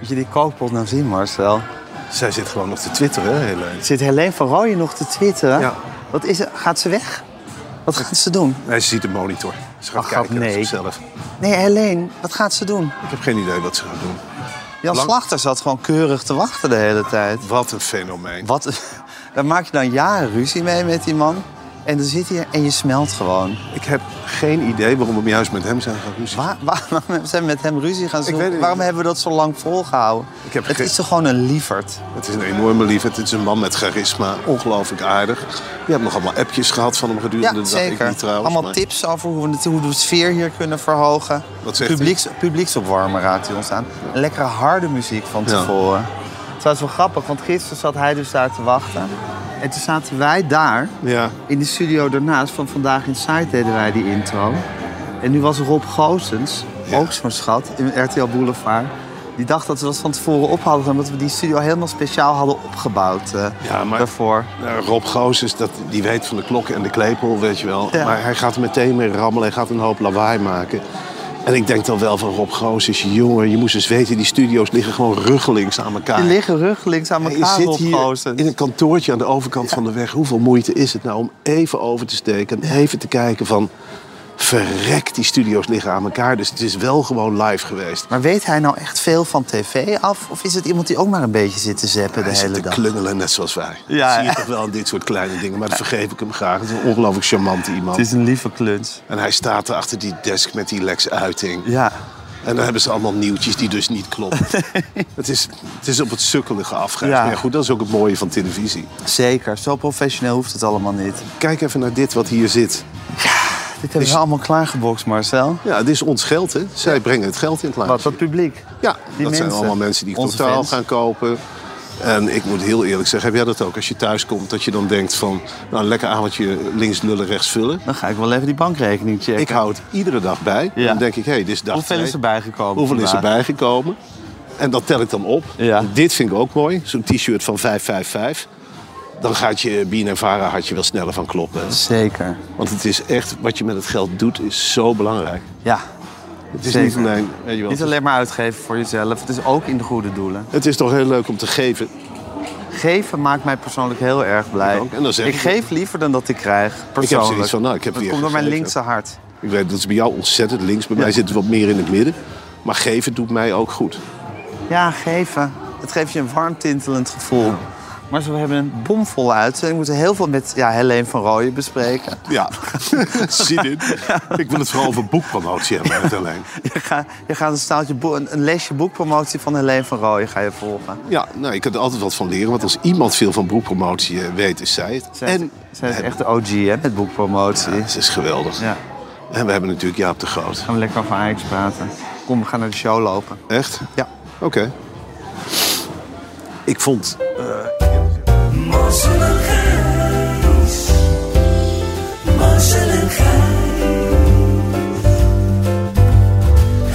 Als je die kookpot nou zien, Marcel. Zij zit gewoon nog te twitteren, hè, Helene. Zit Helene van Rooyen nog te twitteren? Ja. Wat is er? Gaat ze weg? Wat gaat ze doen? Nee, ze ziet de monitor. Ze gaat Ach, kijken nee. op zichzelf. Nee, Helene, wat gaat ze doen? Ik heb geen idee wat ze gaat doen. Jan Lang- Slachter zat gewoon keurig te wachten de hele tijd. Wat een fenomeen. Wat, daar maak je dan jaren ruzie mee met die man. En dan zit hij en je smelt gewoon. Ik heb geen idee waarom we juist met hem zijn gaan ruzie. Waar, waarom zijn we met hem ruzie gaan weet het zoeken? niet. Waarom hebben we dat zo lang volgehouden? Ik heb het geen- is toch gewoon een lieverd? Het is een enorme liefheid. Het is een man met charisma. Ongelooflijk aardig. Je hebt nog allemaal appjes gehad van hem gedurende de Ja, dag. zeker. Ik niet trouwens. Allemaal maar- tips over hoe we, het, hoe we de sfeer hier kunnen verhogen. Wat zegt Publieks, publieksopwarmer raadt hij ons aan. Een lekkere harde muziek van Ja. tevoren. Het was wel grappig, want gisteren zat hij dus daar te wachten. En toen zaten wij daar, Ja. in de studio daarnaast van Vandaag in Site deden wij die intro. En nu was Rob Goossens, Ja. ook zo'n schat, in RTL Boulevard. Die dacht dat we dat van tevoren op hadden, omdat we die studio helemaal speciaal hadden opgebouwd eh, Ja, maar- daarvoor. Nou, Rob Goossens, dat, die weet van de klok en de klepel, weet je wel. Ja. Maar hij gaat er meteen mee rammelen. Hij gaat een hoop lawaai maken. En ik denk dan wel van Rob Goossens, jongen, je moest eens weten... die studio's liggen gewoon ruggelings aan elkaar. Die liggen rug links aan En je elkaar, zit Rob hier Goossens. in een kantoortje aan de overkant van de weg. Hoeveel moeite is het nou om even over te steken en even te kijken van... Verrek, die studio's liggen aan elkaar. Dus het is wel gewoon live geweest. Maar weet hij nou echt veel van tv af? Of is het iemand die ook maar een beetje zit te zeppen Hij de zit hele te dag? klungelen, net zoals wij. Ja, Dat zie je ja. toch wel aan dit soort kleine dingen. Maar dat vergeef ik hem graag. Het is een ongelooflijk charmante iemand. Het is een lieve kluns. En hij staat er achter die desk met die Lex-uiting. Ja. En dan hebben ze allemaal nieuwtjes die dus niet kloppen. het, is, het is op het sukkelige afgereisd. Ja. Maar ja, goed, dat is ook het mooie van televisie. Zeker. Zo professioneel hoeft het allemaal niet. Kijk even naar dit wat hier zit. Dit hebben we allemaal klaargebokst, Marcel. Ja, dit is ons geld, hè? Zij brengen het geld in het Wat, laatste. dat publiek. Ja, dat zijn mensen. allemaal mensen die Onze totaal fans. gaan kopen. En ik moet heel eerlijk zeggen, heb jij dat ook? Als je thuis komt, dat je dan denkt van... nou, een lekker avondje links lullen, rechts vullen. Dan ga ik wel even die bankrekening checken. Ik hou het iedere dag bij. Ja. Dan denk ik, hé, dit is dag Hoeveel twee. is erbij gekomen? Hoeveel is vandaag? erbij gekomen? En dat tel ik dan op. Ja. En Dit vind ik ook mooi. Zo'n t-shirt van 555. Dan gaat je Bien en Vara had je wel sneller van kloppen. Zeker. Want het is echt, wat je met het geld doet, is zo belangrijk. Ja. Het is Zeker. niet alleen, weet je wel, Niet alleen maar uitgeven voor jezelf. Het is ook in de goede doelen. Het is toch heel leuk om te geven. Geven maakt mij persoonlijk heel erg blij. Ik ook. En dan zeg ik ik- geef liever dan dat ik krijg. Persoonlijk. zoiets van, nou, ik heb dat weer komt door mijn gegeven. linkse hart. Ik weet dat is bij jou ontzettend links. Bij mij zit het wat meer in het midden. Maar geven doet mij ook goed. Ja, geven. Het geeft je een warm tintelend gevoel. Maar zo, we hebben een bomvolle uitzending. We moeten heel veel met ja, Helene van Rooyen bespreken. Ja, zie dit. Ik wil het vooral over boekpromotie hebben, met alleen. Je, ga- je gaat een, staaltje boe- een, een lesje boekpromotie van Helene van Rooyen ga je volgen. Ja, nou, je kunt er altijd wat van leren. Want als iemand veel van boekpromotie eh, weet, is zij het. Zij, en, en zij is echt de OG hè, met boekpromotie. Ja. ze is geweldig. En we hebben natuurlijk Jaap de Groot. Gaan we lekker over Ajax praten. Kom, we gaan naar de show lopen. Echt? Ja. Oké. Ik vond... Marcel en Gijs. Marcel en Gijs.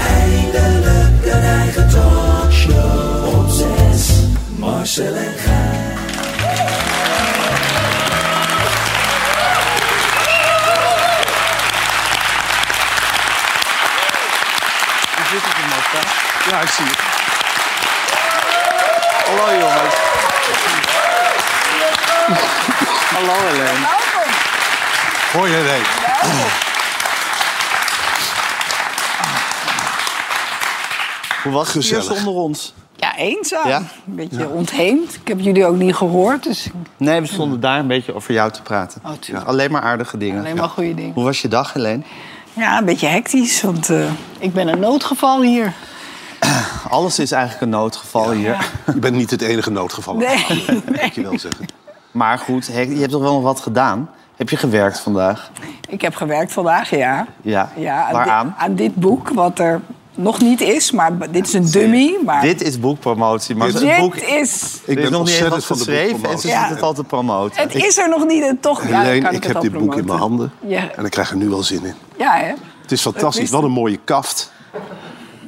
Eindelijk een eigen talkshow op zes. Marcel en Gijs. Hoe zit het in Marcel? Ja, ik zie het. Hallo jongens. Hallo Helene. Hoi, Helene. Hoe was het hier Gezellig. zonder ons? Ja, eenzaam. Ja? Een beetje ontheemd. Ik heb jullie ook niet gehoord, dus Nee, we stonden daar een beetje over jou te praten. Oh, tuurlijk. Alleen maar aardige dingen. alleen maar goede dingen. Hoe was je dag, Helene? Ja, een beetje hectisch, want eh, ik ben een noodgeval hier. Oh. Alles is eigenlijk een noodgeval hier. Je bent niet het enige noodgeval. Nee. Moet je wel zeggen. Maar goed, he- je hebt toch wel nog wat gedaan? Heb je gewerkt vandaag? Ik heb gewerkt vandaag, ja. Ja. aan Waaraan? di- aan dit boek, wat er nog niet is, maar b- dit is een dummy. Maar Dit is boekpromotie. Maar Dit- het dit boek is... Ik er is ben nog niet eens ontzettend wat van de geschreven en boekpromotie. ze Ja. zitten het al te promoten. Het is er nog niet en toch... ja, dan Helene, kan ik, het heb al dit boek in mijn promoten. handen. Ja. En ik krijg er nu al zin in. Ja, hè? Het is Het fantastisch. is- Wat een mooie kaft.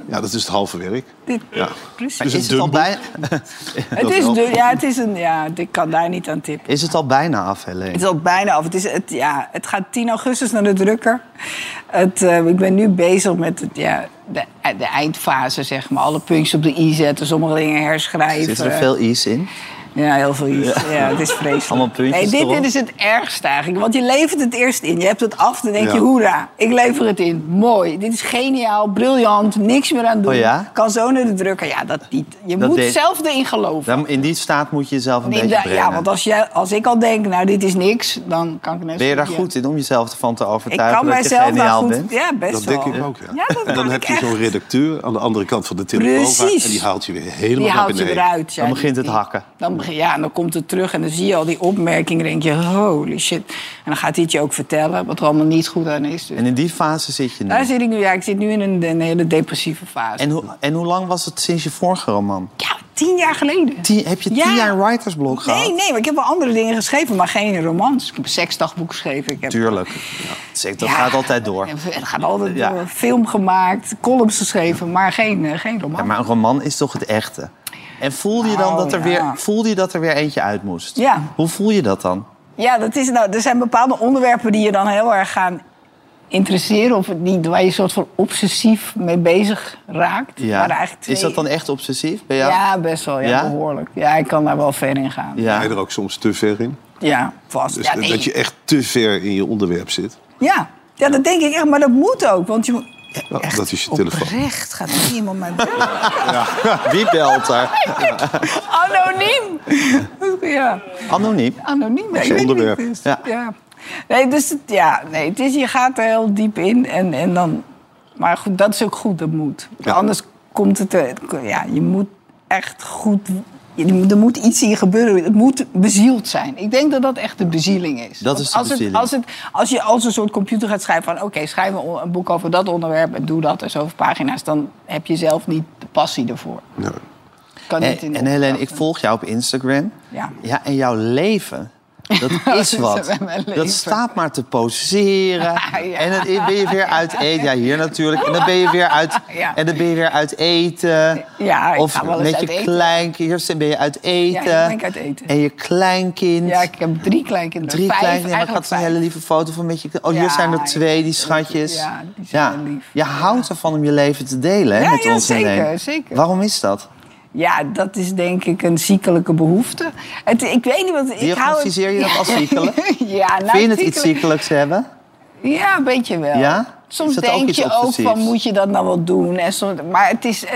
Ja, dat is het halve werk. Dit, Ja. precies. Dus Is een het, al dumbbell? bij, Het dat is wel. du- ja, het is een, ja, ik kan daar niet aan tippen. is het al bijna af, Helene? Het is al bijna af. Het, is, het, ja, het gaat 10 augustus naar de drukker. Het, eh, ik ben nu bezig met het, ja, de, de eindfase, zeg maar. Alle puntjes op de i zetten, sommige dingen herschrijven. Zitten er veel i's in? Ja, heel veel iets. Ja. het is vreselijk. Allemaal puntjes Nee, dit, erop. dit is het ergste eigenlijk. Want je levert het eerst in. Je hebt het af, dan denk Ja. je, hoera, ik lever het in. Mooi, dit is geniaal, briljant, niks meer aan doen. Oh ja? Kan zo naar de drukker. Ja, dat niet. Je Dat moet deed- zelf erin geloven. Dan- In die staat moet je jezelf een Nee, beetje da- brengen. ja, want als, jij, als ik al denk, nou, dit is niks, dan kan ik net zo Ben je daar ja. goed in om jezelf ervan te Ik overtuigen kan dat je mijzelf daar geniaal goed... bent? Ja, best Dat wel. denk ik ook, ja. Ja, dat en dan maak heb ik je zo'n echt. redacteur aan de andere kant van de telefoon. Precies. En die haalt je weer Die helemaal naar houdt je beneden. eruit. ja. Dan begint het Die- hakken. Dan, begin- ja, en dan komt het terug en dan zie je al die opmerkingen. Dan denk je, holy shit. En dan gaat hij het je ook vertellen wat er allemaal niet goed aan is. Dus En in die fase zit je nu. daar zit ik nu. Ja, ik zit nu in een, een hele depressieve fase. En, hoe, en hoe lang was het sinds je vorige roman? Ja, tien jaar geleden. Tien- heb je tien Ja. jaar writersblok gehad? Nee, nee, maar ik heb wel andere dingen geschreven, maar geen romans. Ik heb een seksdagboek geschreven. Ik heb Tuurlijk. Ja, zeg, dat Ja. gaat altijd door. En Het gaat altijd Ja. door. Film gemaakt, columns geschreven, maar geen, eh, geen roman. Ja, maar een roman is toch het echte? En voelde je dan Oh, dat er, ja. weer, voelde je dat er weer eentje uit moest? Ja. Hoe voel je dat dan? Ja, dat is, nou, er zijn bepaalde onderwerpen die je dan heel erg gaan interesseren... of die, waar je soort van obsessief mee bezig raakt. Maar eigenlijk twee- Is dat dan echt obsessief bij Ja, jou? best wel. Ja, Ja? behoorlijk. Ja, ik kan daar wel ver in gaan. Ja, Ga je ja. er ook soms te ver in? vast. Dus ja, nee. dat je echt te ver in je onderwerp zit. ja. ja, dat denk ik echt, maar dat moet ook. Want je moet... Nou, Echt dat is je telefoon. Oprecht gaat er iemand mij Wie belt daar? Anoniem! ja, Anoniem. anoniem. is een onderwerp. Ja. Ja. ja. Nee, dus het, ja, nee, het is, je gaat er heel diep in en, en dan... Maar goed, dat is ook goed, dat moet. Anders komt het... er- Ja, je moet echt goed... je moet- Er moet iets in gebeuren. Het moet bezield zijn. Ik denk dat dat echt de bezieling is. Dat Want is de als het- bezieling. als als, het, als je als een soort computer gaat schrijven van... oké, schrijf een, een boek over dat onderwerp en doe dat en zoveel pagina's... dan heb je zelf niet de passie ervoor. Ja. Kan En, niet in de en Helene, ik opdracht. volg jou op Instagram. Ja. Ja, en jouw leven, dat is is wat. mijn leven. Dat staat maar te poseren. Ja. En dan ben je weer uit eten. Ja, hier natuurlijk. En dan ben je weer uit, Ja. en dan ben je weer uit eten. Ja, ik of ga wel eens met uit je eten. kleinkind. Hier ben je uit eten. Ja, hier ben ik uit eten. En je kleinkind. Ja, ik heb drie kleinkinderen. Drie vijf, kleinkinderen. En dan eigenlijk gaat een vijf. hele lieve foto van met je... Oh, hier Ja, zijn er ja. twee, die schatjes. Ja, die zijn heel lief. Je houdt ervan om je leven te delen hè, Ja, met ja, ons zeker, Helene. zeker. Waarom is dat? Ja, dat is denk ik een ziekelijke behoefte. Het, ik weet niet wat... Ik hou het- Diagnosticeer je dat als ziekelijk? ja, nou, Vind je het iets ziekelijk- ziekelijks hebben? Ja, een beetje wel. Ja? Is Soms dat ook denk iets je ook obsessiefs? van, moet je dat nou wel doen? En soms, maar het is... eh,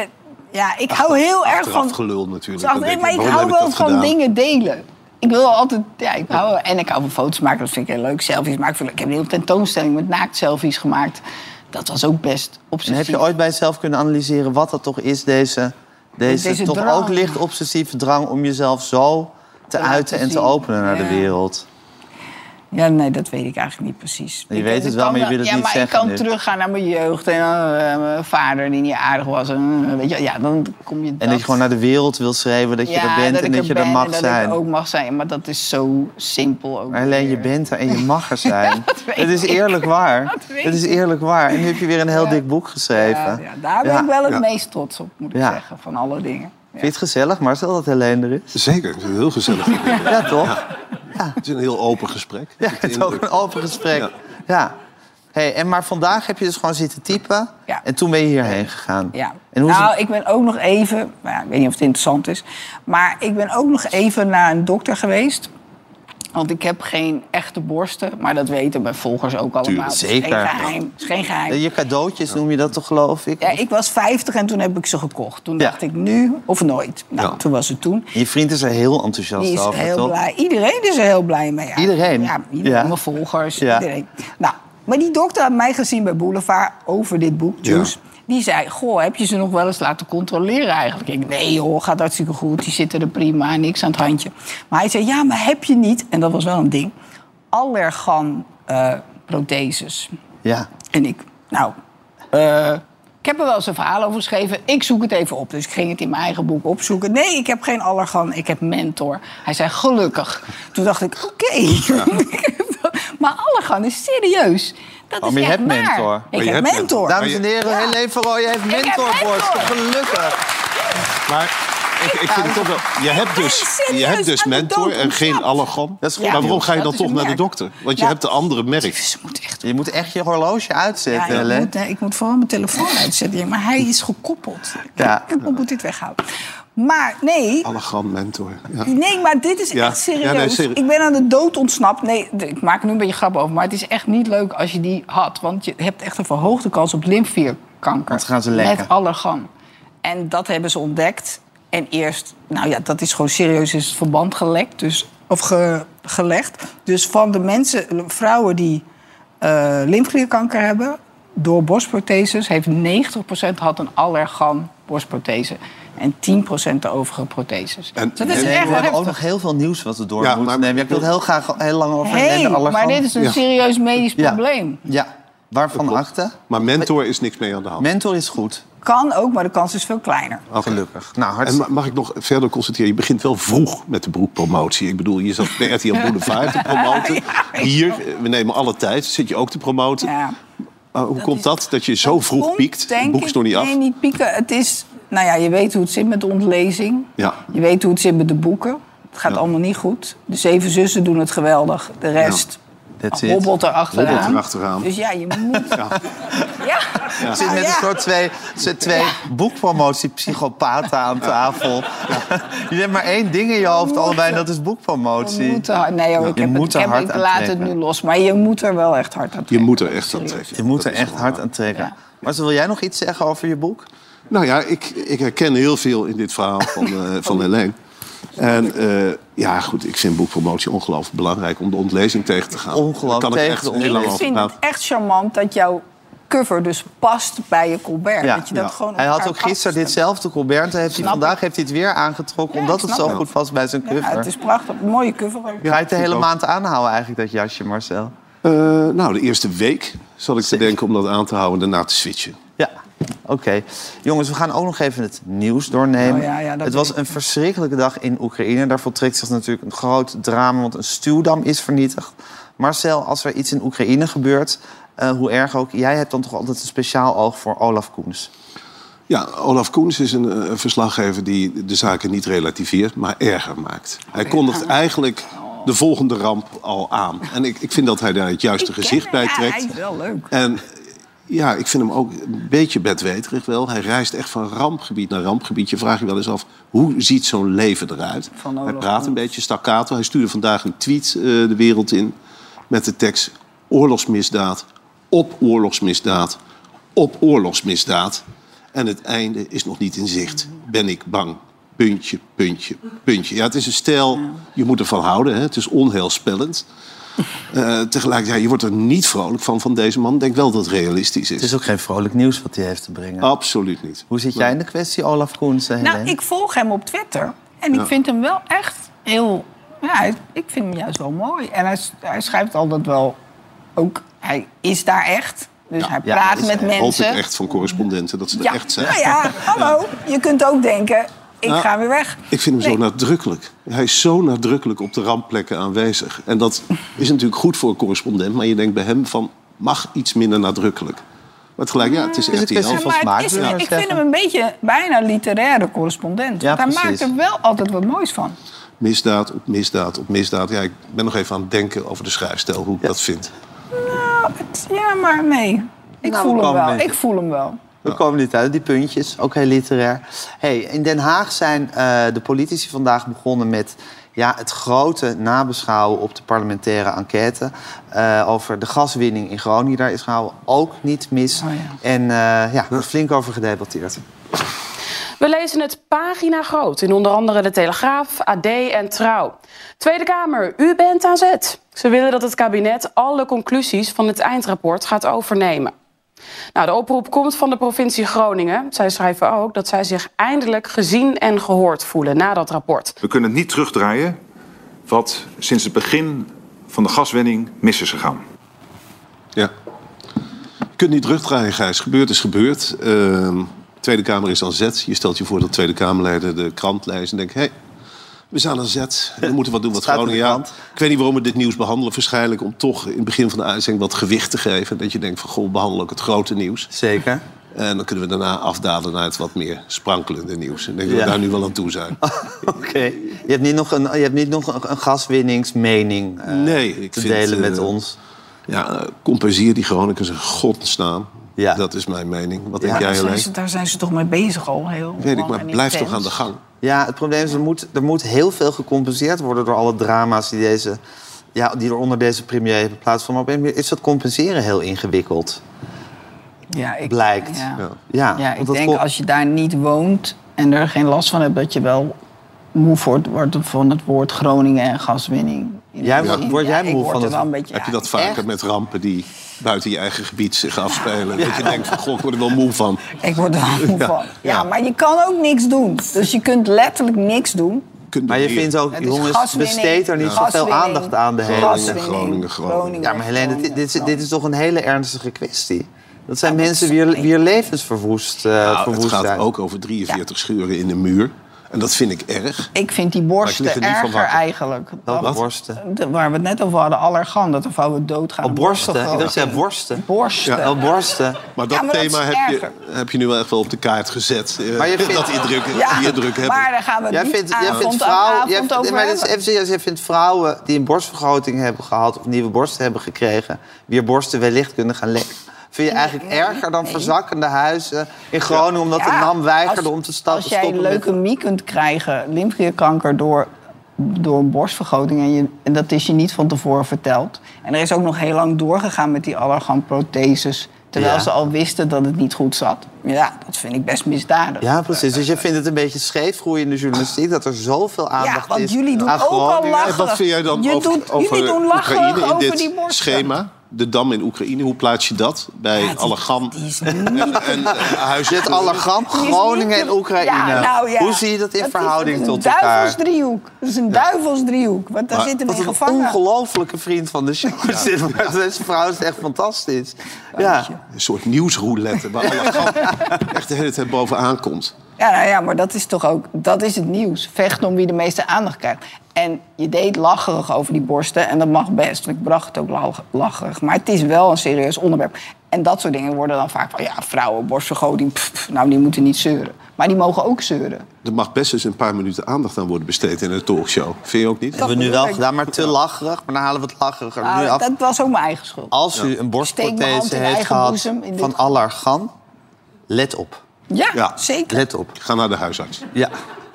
ja, ik hou heel erg Achteraf van... gelul natuurlijk. Zacht- Dan denk maar ik waarom hou heb wel dat van gedaan? dingen delen. Ik wil altijd, ja, ik hou, wel- en ik hou van foto's maken, dat vind ik heel leuk. Selfies maken, vind ik- ik heb een hele tentoonstelling met naakt selfies gemaakt. Dat was ook best En heb obsessief. je ooit bij jezelf kunnen analyseren wat dat toch is, deze, deze, Deze toch drang. ook licht obsessieve drang om jezelf zo te laten uiten en te zien. openen naar de Ja. wereld? Ja, nee, dat weet ik eigenlijk niet precies. Je Ik- weet het ik wel, kan maar je wel- wil het ja, niet maar zeggen ik kan nu. teruggaan naar mijn jeugd en eh, mijn vader die niet aardig was. En, eh, weet je, ja, dan kom je En dat je gewoon naar de wereld wil schrijven dat je er bent en ik dat je er ben mag en dat zijn. ik er ook mag zijn, maar dat is zo simpel ook. Maar alleen je bent er en je mag er zijn. dat weet het is ik. eerlijk waar. Dat weet Het is eerlijk waar. En nu heb je weer een heel dik boek geschreven. Ja, ja, daar ben Ja. ik wel het Ja. meest trots op, moet ik Ja. zeggen, van alle dingen. Vind je het gezellig, Marcel, dat Helene er is? Zeker, het is heel gezellig. Ja, toch? Het is een heel open gesprek. Ja, Ik heb de het is ook indruk. een open gesprek. Ja. Ja. Hey, en maar vandaag heb je dus gewoon zitten typen. Ja. En toen ben je hierheen gegaan. Ja. En hoe is nou, het- ik ben ook nog even, nou ja, ik weet niet of het interessant is, maar ik ben ook nog even naar een dokter geweest. Want ik heb geen echte borsten, maar dat weten mijn volgers ook allemaal. Tuurlijk, Het is zeker. Geen geheim. Het is geen geheim. Je cadeautjes noem je dat toch, geloof ik? Ja, ik was 50 en toen heb ik ze gekocht. Toen Ja. dacht ik nu of nooit. Nou, Ja. toen was het toen. Je vriend is er heel enthousiast Die is over, heel toch? blij. Iedereen is er heel blij mee. eigenlijk. Iedereen? Ja, iedereen. Ja. Mijn volgers, Ja. iedereen. Nou, maar die dokter had mij gezien bij Boulevard over dit boek, Juice. Die zei, goh, heb je ze nog wel eens laten controleren eigenlijk? Ik, nee joh, gaat hartstikke goed, die zitten er prima, niks aan het handje. Maar hij zei, ja, maar heb je niet, en dat was wel een ding, allergan eh, protheses? Ja. En ik, nou, eh, ik heb er wel eens een verhaal over geschreven. Ik zoek het even op. Dus ik ging het in mijn eigen boek opzoeken. Nee, ik heb geen allergan, ik heb mentor. Hij zei, gelukkig. Toen dacht ik, oké. Maar Allegan is serieus. Dat Oh, is maar je echt hebt waar. mentor. Ik Maar je heb hebt mentor. Dames en heren, Ja. Helene van Rooyen heeft heb mentorborst. mentor. Gelukkig. Maar ik, ik vind het toch wel... Je hebt dus, Serieus, je hebt dus aan de mentor dood en geen ontsnapt. allegom. Dat is goed. maar waarom ga je Dat dan is toch een naar de merk. dokter? Want je Ja. hebt de andere merk. Ze moet echt... Je moet echt je horloge Ja, uitzetten, ik, Helene. moet, eh, ik moet vooral mijn telefoon uitzetten. Maar hij is gekoppeld. Ja. Ik moet dit weghouden. Maar nee, Allegram mentor. Ja. Nee, maar dit is Ja. echt serieus. Ja, nee, serieus. Ik ben aan de dood ontsnapt. Nee, d- ik maak er nu een beetje grap over. Maar het is echt niet leuk als je die had. Want je hebt echt een verhoogde kans op lymfeklierkanker. Want gaan ze lekken. Met allergan. En dat hebben ze ontdekt. En eerst, nou ja, dat is gewoon serieus is het verband gelekt. Dus, of ge- gelegd. Dus van de mensen, vrouwen die eh lymfeklierkanker hebben... door borstprotheses, heeft 90% had een allergan borstprothese. En 10% de overige protheses. En- Dus dat is en- Nee, echt we hebben heftig. ook nog heel veel nieuws wat we door Ja, moeten maar- nemen. Ja, Ik wil het heel graag heel lang over Hey, Helene Allergan. maar dit is een Ja. serieus medisch Ja. probleem. Ja, waarvan achten? Maar mentor is niks mee aan de hand. Mentor is goed. Kan ook, maar de kans is veel kleiner. Gelukkig. En Nou, ma- hartstikke. mag ik nog verder constateren? Je begint wel vroeg met de broekpromotie. Ik bedoel, je zat bij RTL Boulevard te promoten. Ja. Hier, eh, we nemen alle tijd, zit je ook te promoten. Ja. Maar hoe komt dat, dat je zo vroeg Komt, piekt? Het denk boek is nog niet ik- af. Nee, niet pieken. Het is, nou ja, je weet hoe het zit met de ontlezing. Ja. Je weet hoe het zit met de boeken. Het gaat allemaal niet goed. De zeven zussen doen het geweldig. De rest That's it. hobbelt erachteraan. Hobbelt erachteraan. Dus ja, je moet... Ja. Er zit Nou met ja. een soort twee, soort twee boekpromotie-psychopaten aan tafel. Je hebt maar één ding in je hoofd allebei en dat is We boekpromotie. moeten hard- nee, joh, ik, Je heb moet het, er ik, heb- hard ik aan laat het trekken. nu los. Maar je moet er wel echt hard aan Je trekken. moet er echt aan trekken. Je moet er Dat is echt wel hard waar. aan trekken. Maar wil jij nog iets zeggen over je boek? Nou ja, ik, ik herken heel veel in dit verhaal van, eh van Helene. En eh, ja, goed, ik vind boekpromotie ongelooflijk belangrijk om de ontlezing tegen te gaan. Ongelooflijk Daar kan ik tegen echt de heel lang Ik over vind het praten. echt charmant dat jouw cover dus past bij je Colbert. Ja, dat je dat ja. gewoon op Hij had elkaar ook gisteren afstemt. ditzelfde Colbert. Hij heeft hij Snap vandaag heeft hij het weer aangetrokken, Ja, omdat ik het snap zo het. goed past bij zijn Ja, het cover. is prachtig. Mooie cover ook. Ga je het de vind hele ik ook. maand aanhouden eigenlijk, dat jasje, Marcel? Eh, nou, de eerste week zat ik te denken om dat aan te houden en daarna te switchen. Ja, oké. Jongens, we gaan ook nog even het nieuws doornemen. Oh ja, ja, dat het was weet een verschrikkelijke dag in Oekraïne. Daar voltrekt zich natuurlijk een groot drama, want een stuwdam is vernietigd. Marcel, als er iets in Oekraïne gebeurt, eh, hoe erg ook... jij hebt dan toch altijd een speciaal oog voor Olaf Koens. Ja, Olaf Koens is een eh, verslaggever die de zaken niet relativeert, maar erger maakt. Hij kondigt eigenlijk de volgende ramp al aan. En ik, ik vind dat hij daar het juiste Ik ken gezicht bij hem. Ja, trekt. hij is wel leuk. En ja, ik vind hem ook een beetje bedweterig wel. Hij reist echt van rampgebied naar rampgebied. Je vraagt je wel eens af, hoe ziet zo'n leven eruit? Van Olaf hij praat een Koens. beetje staccato. Hij stuurde vandaag een tweet eh, de wereld in met de tekst... oorlogsmisdaad, op oorlogsmisdaad, op oorlogsmisdaad. En het einde is nog niet in zicht. Ben ik bang. Puntje, puntje, puntje. Ja, het is een stijl, je moet ervan houden. Hè? Het is onheilspellend. Eh, tegelijkertijd, je wordt er niet vrolijk van, van deze man. Ik denk wel dat het realistisch is. Het is ook geen vrolijk nieuws wat hij heeft te brengen. Absoluut niet. Oh. Hoe zit jij in de kwestie Olaf Koens, eh, Nou, Helene? ik volg hem op Twitter. En ik vind hem wel echt heel... Ja, hij- ik vind hem juist wel mooi. En hij, s- hij schrijft altijd wel ook... Hij is daar echt. Dus hij ja, praat is met hij. Hoop ik mensen. echt van correspondenten dat ze er ja. echt zijn. Nou ja, hallo. Je kunt ook denken, ik Nou, ga weer weg. Ik vind hem Nee. zo nadrukkelijk. Hij is zo nadrukkelijk op de rampplekken aanwezig. En dat is natuurlijk goed voor een correspondent, maar je denkt bij hem van mag iets minder nadrukkelijk. Maar tegelijk, ja, het is het echt die best wel helft. van maar smaak, het is, wil je ik zeggen. vind hem een beetje bijna literaire correspondent. Ja, Want hij precies. maakt er wel altijd wat moois van. Misdaad op misdaad op misdaad. Ja, ik ben nog even aan het denken over de schrijfstijl, hoe ik dat vind. Nou, het- ja, maar nee. Ik Nou, voel hem komen wel. mensen. Ik voel hem wel. We komen niet uit, die puntjes. Ook heel literair. Hey, in Den Haag zijn eh, de politici vandaag begonnen met ja, het grote nabeschouwen op de parlementaire enquête. eh, over de gaswinning in Groningen. Daar is gehouden ook niet mis. Oh En eh, ja, er is flink over gedebatteerd. We lezen het pagina groot in onder andere De Telegraaf, AD en Trouw. Tweede Kamer, u bent aan zet. Ze willen dat het kabinet alle conclusies van het eindrapport gaat overnemen. Nou, de oproep komt van de provincie Groningen. Zij schrijven ook dat zij zich eindelijk gezien en gehoord voelen na dat rapport. We kunnen niet terugdraaien wat sinds het begin van de gaswinning mis is gegaan. Ja. Je kunt niet terugdraaien, Gijs. Gebeurd is gebeurd. Ehm, Tweede Kamer is aan zet. Je stelt je voor dat Tweede Kamerleider de krant leest en denkt... hé, We zijn aan zet. We moeten wat doen wat Staat in de Groningen. Ja, krant. ik weet niet waarom we dit nieuws behandelen. Waarschijnlijk om toch in het begin van de uitzending wat gewicht te geven. Dat je denkt van, goh, behandel ook het grote nieuws. Zeker. En dan kunnen we daarna afdalen naar het wat meer sprankelende nieuws. En ik denk dat Ja. Oh, we daar nu wel aan toe zijn. Oké. Je hebt niet nog een, je hebt niet nog een, een gaswinningsmening eh, Nee, ik te vind, delen met eh, ons. Ja, eh, compenseer die Groningers in godsnaam. Ja. Dat is mijn mening. Wat Ja. denk Daar jij, Daar zijn, alleen? ze, daar zijn ze toch mee bezig al heel Weet ik, lang maar en blijf intens. toch aan de gang. Ja, het probleem is, er moet, er moet heel veel gecompenseerd worden door alle drama's die, deze, ja, die er onder deze premier hebben plaatsgevonden. Maar op een manier is dat compenseren heel ingewikkeld, ja, ik, blijkt. Ja, Ja, ja. want ik dat denk kon- als je daar niet woont en er geen last van hebt... dat je wel moe wordt- wordt van het woord Groningen en gaswinning. Jij wordt- word jij ik moe word van er het- wel een beetje, Heb je ja, dat vaker echt? met rampen die buiten je eigen gebied zich Nou, afspelen? Dat je denkt van, goh, ik word er wel moe van. Ik word er wel moe Ja, van. ja. Ja, maar je kan ook niks doen. Dus je kunt letterlijk niks doen. Kunt Maar je beweren. vindt ook, Het is jongens, gaswinning, besteed er niet zoveel gaswinning, aandacht aan de hele... Gas. gaswinning, Groningen, Groningen. Ja, maar Helene, dit, dit, is, dit is toch een hele ernstige kwestie? Dat zijn mensen wier, wier levens verwoest, eh, Nou, verwoest het gaat zijn. ook over 43 schuren in de muur. En dat vind ik erg. Ik vind die Maar ik borsten lig er niet van erger wakker. eigenlijk. Welke Dan- borsten? de- waar we het net over hadden, allergan. Dat er vrouwen doodgaan. Oh, aan borsten. Ik dacht, borstgevallen. jij borsten. Borsten. Oh, borsten. Maar dat Ja, maar dat is thema heb, je, erger. heb je nu wel echt wel op de kaart gezet. Eh, Maar je vindt- dat indruk, Ja, die indruk hebben. maar daar gaan we het Jij niet vindt, jij avond vindt aan vrouwen, avond jij vindt, over maar dat is hebben. even serieus. Jij vindt vrouwen die een borstvergroting hebben gehad of nieuwe borsten hebben gekregen, wier borsten wellicht kunnen gaan lekken. Vind je eigenlijk erger dan verzakkende huizen in Groningen omdat de Ja, NAM weigerde als- om te sta- Als jij stoppen met- leukemie kunt krijgen, lymfeklierkanker door, door een borstvergroting... En, je, en dat is je niet van tevoren verteld. En er is ook nog heel lang doorgegaan met die allerganprotheses... terwijl Ja. ze al wisten dat het niet goed zat. Ja, dat vind ik best misdadig. Ja, precies. Dus je vindt het een beetje scheefgroeiende journalistiek dat er zoveel aandacht Ja, want is. jullie doen aan ook al Groningen. lachen. En Eh, wat vind jij dan Je over, doet- over jullie doen lachen Oekraïne in over dit die borsten. schema? De dam in Oekraïne, hoe plaats je dat bij die- Allegam die is en, en, en eh, Je hebt Huizen? Allergam, Die is Groningen niet- en Oekraïne. Ja, nou ja. Hoe zie je dat in is- verhouding dat is tot een elkaar? duivelsdriehoek. Dat is een duivelsdriehoek. Want daar Maar- zitten we Wat in een gevangen. ongelofelijke vriend van de show. is dit. Maar Deze vrouw is echt fantastisch. Ja. Een soort nieuwsroulette waar Allegam echt de hele tijd bovenaan komt. Ja, nou ja, maar dat is toch ook... Dat is het nieuws. Vechten om wie de meeste aandacht krijgt. En je deed lacherig over die borsten. En dat mag best. want Ik bracht het ook lach- lacherig. Maar het is wel een serieus onderwerp. En dat soort dingen worden dan vaak van... Ja, vrouwen, borstvergroting. pff, pff, nou, die moeten niet zeuren. Maar die mogen ook zeuren. Er mag best eens een paar minuten aandacht aan worden besteed in een talkshow. Vind je ook niet? Dat hebben we nu bedoel wel ik. gedaan, maar te lacherig. Maar dan halen we het lacheriger Nou, nu af. dat was ook mijn eigen schuld. Als u een Steek mijn hand borstprothese in heeft eigen gehad boezem in dit van geval. Allergan, let op. Ja, Ja. zeker. Let op. Ga naar de huisarts. Ja.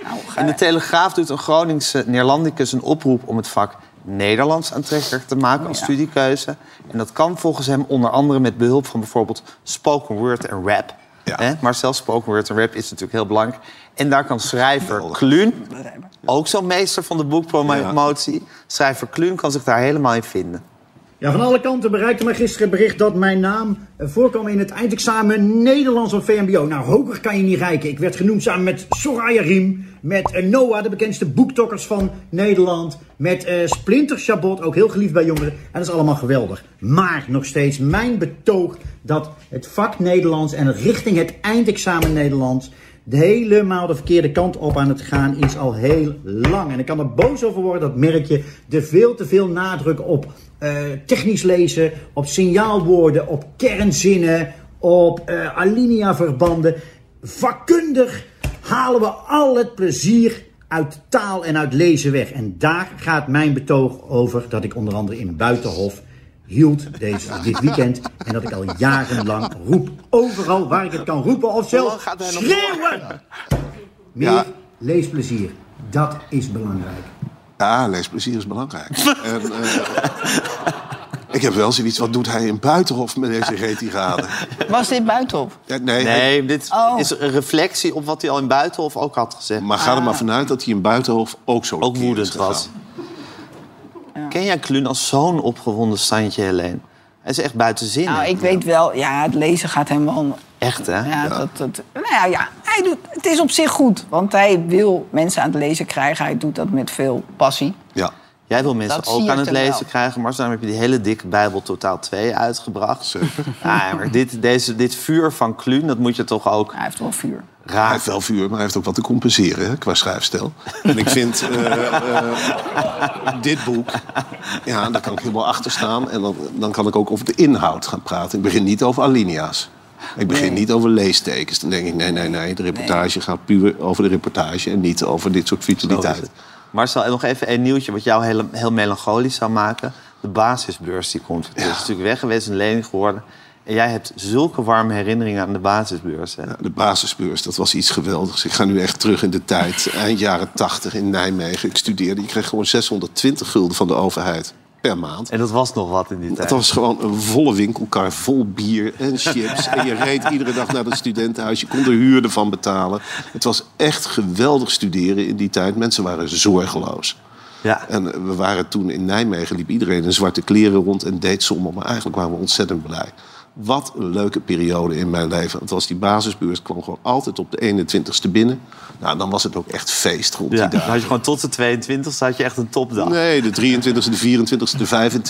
Nou, ga- En de Telegraaf doet een Groningse Neerlandicus een oproep om het vak Nederlands aantrekkelijk te maken als Ja. studiekeuze. En dat kan volgens hem onder andere met behulp van bijvoorbeeld spoken word en rap. Ja. Hè? Maar zelfs spoken word en rap is natuurlijk heel belangrijk. En daar kan schrijver Kluun, ook zo'n meester van de boekpromotie, schrijver Kluun kan zich daar helemaal in vinden. Ja, van alle kanten bereikte mij gisteren het bericht dat mijn naam eh, voorkwam in het eindexamen Nederlands op VMBO. Nou, hoger kan je niet reiken. Ik werd genoemd samen met Soraya Riem, met eh, Noah, de bekendste boektokkers van Nederland, met eh, Splinter Chabot, ook heel geliefd bij jongeren. En dat is allemaal geweldig. Maar nog steeds mijn betoog dat het vak Nederlands en richting het eindexamen Nederlands de helemaal de verkeerde kant op aan het gaan is al heel lang. En ik kan er boos over worden, dat merk je. De veel te veel nadruk op eh, technisch lezen, op signaalwoorden, op kernzinnen, op eh alinea-verbanden. Vakkundig halen we al het plezier uit taal en uit lezen weg. En daar gaat mijn betoog over dat ik onder andere in Buitenhof hield deze, dit weekend. En dat ik al jarenlang roep. Overal waar ik het kan roepen of lang zelf gaat hij nog schreeuwen. Meer Ja. leesplezier. Dat is belangrijk. Ja, leesplezier is belangrijk. en, eh, ik heb wel zoiets, wat doet hij in Buitenhof met deze retirade? Was dit buitenop? Ja, nee, hij- Nee, dit Oh. is een reflectie op wat hij al in Buitenhof ook had gezegd. maar ga er maar vanuit dat hij in Buitenhof ook zo Ah. ook tekeer is woedend gegaan. was. Ken jij Kluun als zo'n opgewonden standje, Helene? Hij is echt buiten zin. Nou, hè? ik weet wel, ja, het lezen gaat hem wel. Echt, hè? Ja, Dat, dat, nou ja, ja, hij doet, het is op zich goed, want hij wil mensen aan het lezen krijgen. Hij doet dat met veel passie. Ja, Jij wil mensen Dat ook siert aan het hem lezen wel. krijgen, maar daarom heb je die hele dikke Bijbel Totaal Ah, 2 uitgebracht. Ja, maar dit, deze, dit vuur van Kluun, dat moet je toch ook Hij heeft wel vuur. Hij Raar. heeft wel vuur, maar hij heeft ook wat te compenseren hè, qua schrijfstijl. En ik vind eh, eh, dit boek, ja, daar kan ik helemaal achter staan. En dan, dan kan ik ook over de inhoud gaan praten. Ik begin niet over alinea's. Ik begin niet over leestekens. Dan denk ik, nee, nee, nee, de reportage gaat puur over de reportage... en niet over dit soort Logisch. futiliteit. Marcel, en nog even een nieuwtje wat jou heel, heel melancholisch zou maken. De basisbeurs die komt. Het is natuurlijk weg geweest, een lening geworden. En jij hebt zulke warme herinneringen aan de basisbeurs. Hè? Ja, de basisbeurs, dat was iets geweldigs. Ik ga nu echt terug in de tijd. Eind jaren 80 in Nijmegen. Ik studeerde. Ik kreeg gewoon 620 gulden van de overheid per maand. En dat was nog wat in die tijd. Het was gewoon een volle winkelkar vol bier en chips. En je reed iedere dag naar het studentenhuis. Je kon de huur ervan betalen. Het was echt geweldig studeren in die tijd. Mensen waren zorgeloos. Ja. En we waren toen in Nijmegen, liep iedereen in zwarte kleren rond en deed sommen. Maar eigenlijk waren we ontzettend blij. Wat een leuke periode in mijn leven. Want als die basisbeurs kwam gewoon altijd op de 21ste binnen. Nou, dan was het ook echt feest rond Ja, die dan dagen. Dus had je gewoon tot de 22 had je echt een topdag. Nee, de 23e, de 24e, de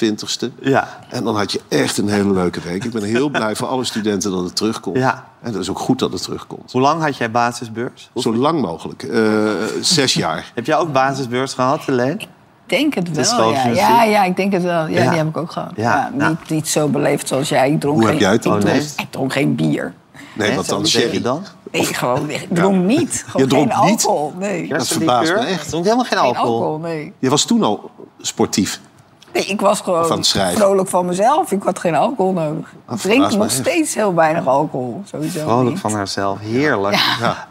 25e. Ja. En dan had je echt een hele leuke week. Ik ben heel blij voor alle studenten dat het terugkomt. Ja. En dat is ook goed dat het terugkomt. Hoe lang had jij basisbeurs? Zo lang mogelijk. Eh, zes jaar. Heb jij ook basisbeurs gehad, Helene? denk is het wel, gewoon ja. journalistiek. ja. Ja, ik denk het wel. Ja, Ja. die heb ik ook gehad. Ja, Ja, nou. Niet, niet zo beleefd zoals jij. Ik dronk Hoe heb geen, jij het ik Oh, dronk- nee. Ik dronk geen bier. Nee, wat Wat dan? deed Sherry. je dan? Nee, gewoon, ik dronk niet. Gewoon Je dronk geen niet? alcohol. Nee. Dat verbaast me echt. Ik dronk helemaal geen Geen alcohol. alcohol, nee. Je was toen al sportief. Nee, ik was Of aan gewoon het schrijven. vrolijk van mezelf. Ik had geen alcohol nodig. Dat Ik drink verbaast me nog echt. steeds heel weinig alcohol. Sowieso Vrolijk niet. van haarzelf, heerlijk.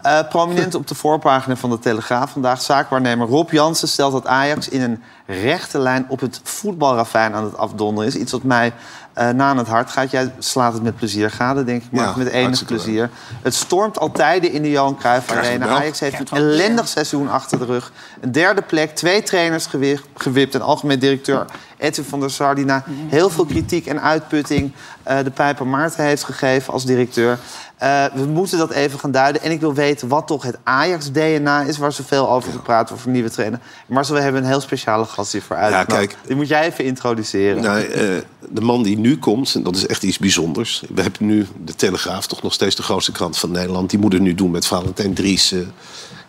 Eh, prominent op de voorpagina van de Telegraaf vandaag... zaakwaarnemer Rob Jansen stelt dat Ajax in een rechte lijn... op het voetbalrafijn aan het afdonderen is. Iets wat mij eh, na aan het hart gaat. Jij slaat het met plezier gade, denk ik, maar Ja, met enig hartstikke leuk. plezier. Het stormt al tijden in de Johan Cruijff Krijg je Arena. wel. Ajax heeft een ellendig seizoen achter de rug. Een derde plek, twee trainers gewi- gewipt... en algemeen directeur Edwin van der Sardina. Heel veel kritiek en uitputting eh, de Pijper Maarten heeft gegeven als directeur. Eh, we moeten dat even gaan duiden. En ik wil weten wat toch het Ajax-DNA is... waar zoveel over gepraat wordt voor nieuwe trainer. Maar we hebben een heel speciale gast hiervoor uitgenodigd. kijk. Die moet jij even introduceren. Nou, eh, de man die nu komt, en dat is echt iets bijzonders. We hebben nu de Telegraaf, toch nog steeds de grootste krant van Nederland. Die moet het nu doen met Valentijn Dries. eh,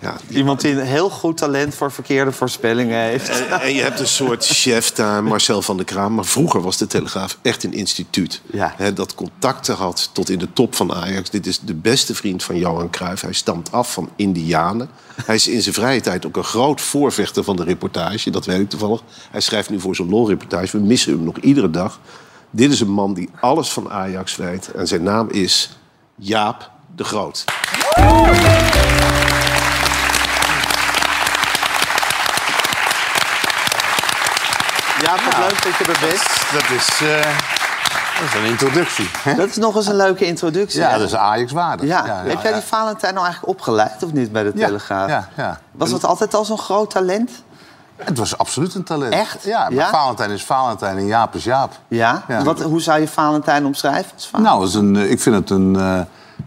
ja, Iemand die een heel goed talent voor verkeerde voorspellingen Eh, heeft. En, en je hebt een soort chef daar, Marcel van der Kraam. Maar vroeger was de Telegraaf echt een instituut. Ja. Hè, dat contacten had tot in de top van Ajax. Dit is de beste vriend van Johan Cruijff. Hij stamt af van Indianen. Hij is in zijn vrije tijd ook een groot voorvechter van de reportage. Dat weet ik toevallig. Hij schrijft nu voor zijn lolreportage. We missen hem nog iedere dag. Dit is een man die alles van Ajax weet. En zijn naam is Jaap de Groot. Ja, wat leuk dat je er bent. Dat is, eh, dat is een introductie. hè? Dat is nog eens een leuke introductie. Ja, hè? dat is Ajax waardig. Ja. Heb jij die ja. Valentijn nou eigenlijk opgeleid of niet bij de Ja, Telegraaf? ja, ja. Was dat altijd al zo'n groot talent? Het was absoluut een talent. Echt? Ja, maar Ja? Valentijn is Valentijn en Jaap is Jaap. Ja. Ja. Wat, hoe zou je Valentijn omschrijven? als Valentijn? Nou, het is een, eh, ik vind het een, eh,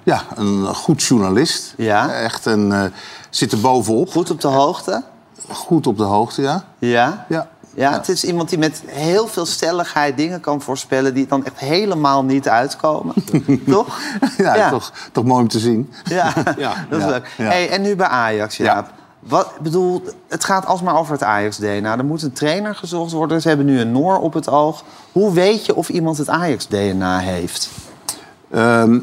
ja, een goed journalist. Ja. Echt een, eh, zit er bovenop. Goed op de hoogte? Goed op de hoogte, ja. Ja. Ja. Ja, het is iemand die met heel veel stelligheid dingen kan voorspellen... die dan echt helemaal niet uitkomen. toch? ja, Toch, toch mooi om te zien. Ja, Ja. dat is Ja. leuk. Ja. Hey, en nu bij Ajax, Ja. Jaap. Wat, bedoel, het gaat alsmaar over het Ajax-DNA. Er moet een trainer gezocht worden. Ze hebben nu een Noor op het oog. Hoe weet je of iemand het Ajax-DNA heeft? Ehm,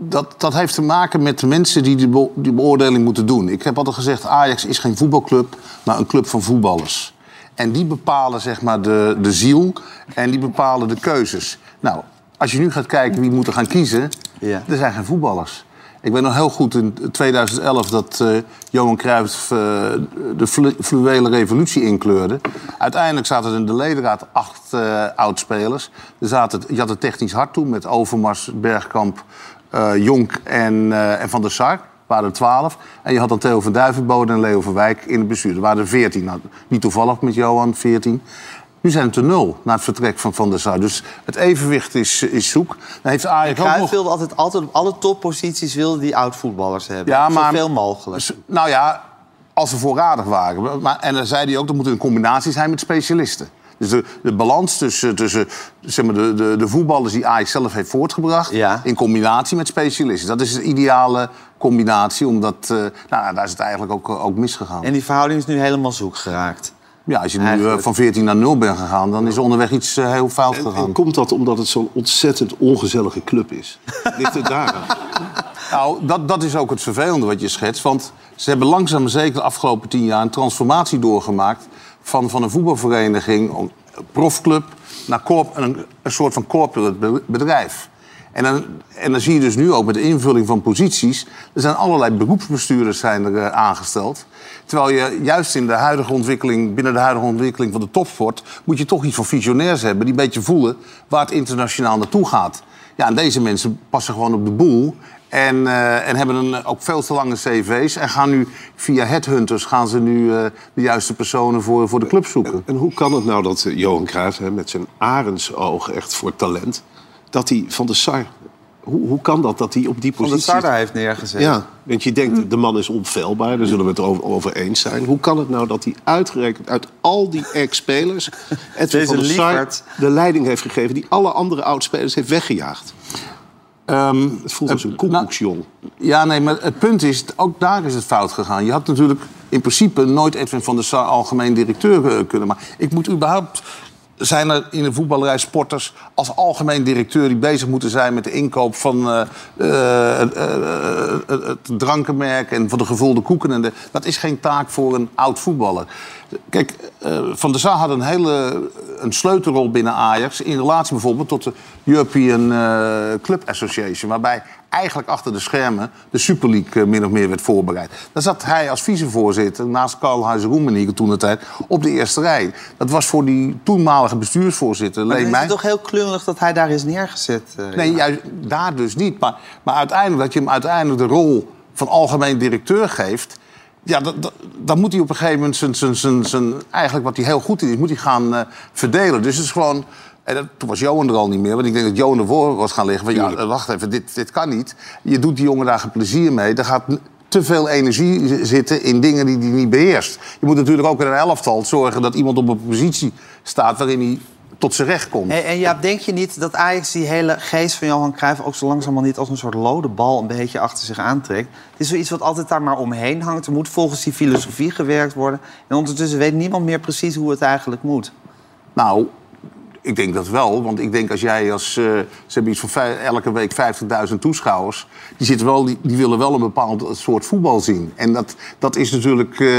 dat, dat heeft te maken met de mensen die die, be- die beoordeling moeten doen. Ik heb altijd gezegd, Ajax is geen voetbalclub, maar een club van voetballers. En die bepalen zeg maar de, de ziel en die bepalen de keuzes. Nou, als je nu gaat kijken wie moet er gaan kiezen, Ja. er zijn geen voetballers. Ik weet nog heel goed in 2011 dat eh, Johan Cruijff eh, de flu- fluwele revolutie inkleurde. Uiteindelijk zaten er in de ledenraad acht eh oudspelers. Er zaten, je had het technisch hart toen met Overmars, Bergkamp, eh, Jonk en, eh, en Van der Sar. waren er twaalf. En je had dan Theo van Duivenbode en Leo van Wijk in het bestuur. Er waren er veertien. Nou, niet toevallig met Johan, veertien. Nu zijn het er nul na het vertrek van Van der Sar. Dus het evenwicht is, is zoek. Dan heeft Ajax ook Cruijff nog... wilde altijd, altijd op alle topposities wilde die oud-voetballers hebben. Zoveel mogelijk. S- Nou ja, als ze voorradig waren. Maar, en dan zei hij ook, dat moet een combinatie zijn met specialisten. Dus de, de balans tussen, tussen zeg maar, de, de, de voetballers die Ajax zelf heeft voortgebracht... Ja. in combinatie met specialisten. Dat is de ideale combinatie, omdat eh, nou, daar is het eigenlijk ook, ook misgegaan. En die verhouding is nu helemaal zoek geraakt. ja, als je nu eh, Eigenlijk- van 14 naar 0 bent gegaan, dan is er onderweg iets eh, heel fout En, gegaan. en komt dat omdat het zo'n ontzettend ongezellige club is? Ligt het daaraan? Nou, dat, dat is ook het vervelende wat je schetst. Want ze hebben langzaam maar zeker de afgelopen tien jaar een transformatie doorgemaakt. Van, van een voetbalvereniging, een profclub, naar corp, een, een soort van corporate be- bedrijf. En dan, en dan zie je dus nu ook met de invulling van posities. Er zijn allerlei beroepsbestuurders zijn er, eh, aangesteld. Terwijl je juist in de huidige ontwikkeling, binnen de huidige ontwikkeling van de topsport. moet je toch iets van visionairs hebben. die een beetje voelen waar het internationaal naartoe gaat. Ja, en deze mensen passen gewoon op de boel. En, eh, en hebben een, ook veel te lange cv's. En gaan nu via headhunters gaan ze nu, eh, de juiste personen voor, voor de club zoeken. En hoe kan het nou dat eh, Johan Cruijff, hè, met zijn arendsoog echt voor talent... dat hij Van de Sar... Hoe, hoe kan dat dat hij op die Omdat positie... Sarda heeft neergezet. Ja, want je denkt, de man is onfeilbaar, daar zullen we het over, over eens zijn. Hoe kan het nou dat hij uitgerekend uit al die ex-spelers... Edwin Deze van der Sar lieverd. de leiding heeft gegeven... die alle andere oud-spelers heeft weggejaagd? Ehm, Het voelt als een nou- koekoeksjong. Ja, nee, maar het punt is, ook daar is het fout gegaan. Je had natuurlijk in principe nooit Edwin van der Sar algemeen directeur eh, kunnen maken. Ik moet überhaupt... Zijn er in de voetballerij sporters als algemeen directeur... die bezig moeten zijn met de inkoop van eh, eh, eh, eh, het- het drankenmerk... en van de gevulde koeken. En de, dat is geen taak voor een oud voetballer. Kijk, eh, Van der Sar had een hele een sleutelrol binnen Ajax... in relatie bijvoorbeeld tot de European eh, Club Association... waarbij eigenlijk achter de schermen de Super League eh, min of meer werd voorbereid. Daar zat hij als vicevoorzitter naast Karl-Heinz Roemenigge toen de tijd op de eerste rij. Dat was voor die toenmalige bestuursvoorzitter Maar dan Leen is het Meij. toch heel klungelig dat hij daar is neergezet. eh, Nee, juist daar dus niet. Maar, maar uiteindelijk dat je hem uiteindelijk de rol van algemeen directeur geeft. Ja, dat, dat- dan moet hij op een gegeven moment zijn, zijn, zijn, zijn, eigenlijk wat hij heel goed in is, moet hij gaan eh, verdelen. Dus het is gewoon. En dat, toen was Johan er al niet meer, want ik denk dat Johan ervoor was gaan liggen. Van, ja, wacht even, dit, dit kan niet. Je doet die jongen daar geen plezier mee. Daar gaat n- te veel energie z- zitten in dingen die hij niet beheerst. Je moet natuurlijk ook in een elftal zorgen dat iemand op een positie staat waarin hij tot zijn recht komt. En, en Jaap, denk je niet dat Ajax die hele geest van Johan Cruijff... ook zo langzamerhand niet als een soort lode bal een beetje achter zich aantrekt? Het is zoiets wat altijd daar maar omheen hangt. Er moet volgens die filosofie gewerkt worden. En ondertussen weet niemand meer precies hoe het eigenlijk moet. Nou, ik denk dat wel. Want ik denk als jij als... eh, ze hebben iets van vij- elke week 50.000 toeschouwers. Die, zitten wel, die, die willen wel een bepaald soort voetbal zien. En dat, dat is natuurlijk... eh,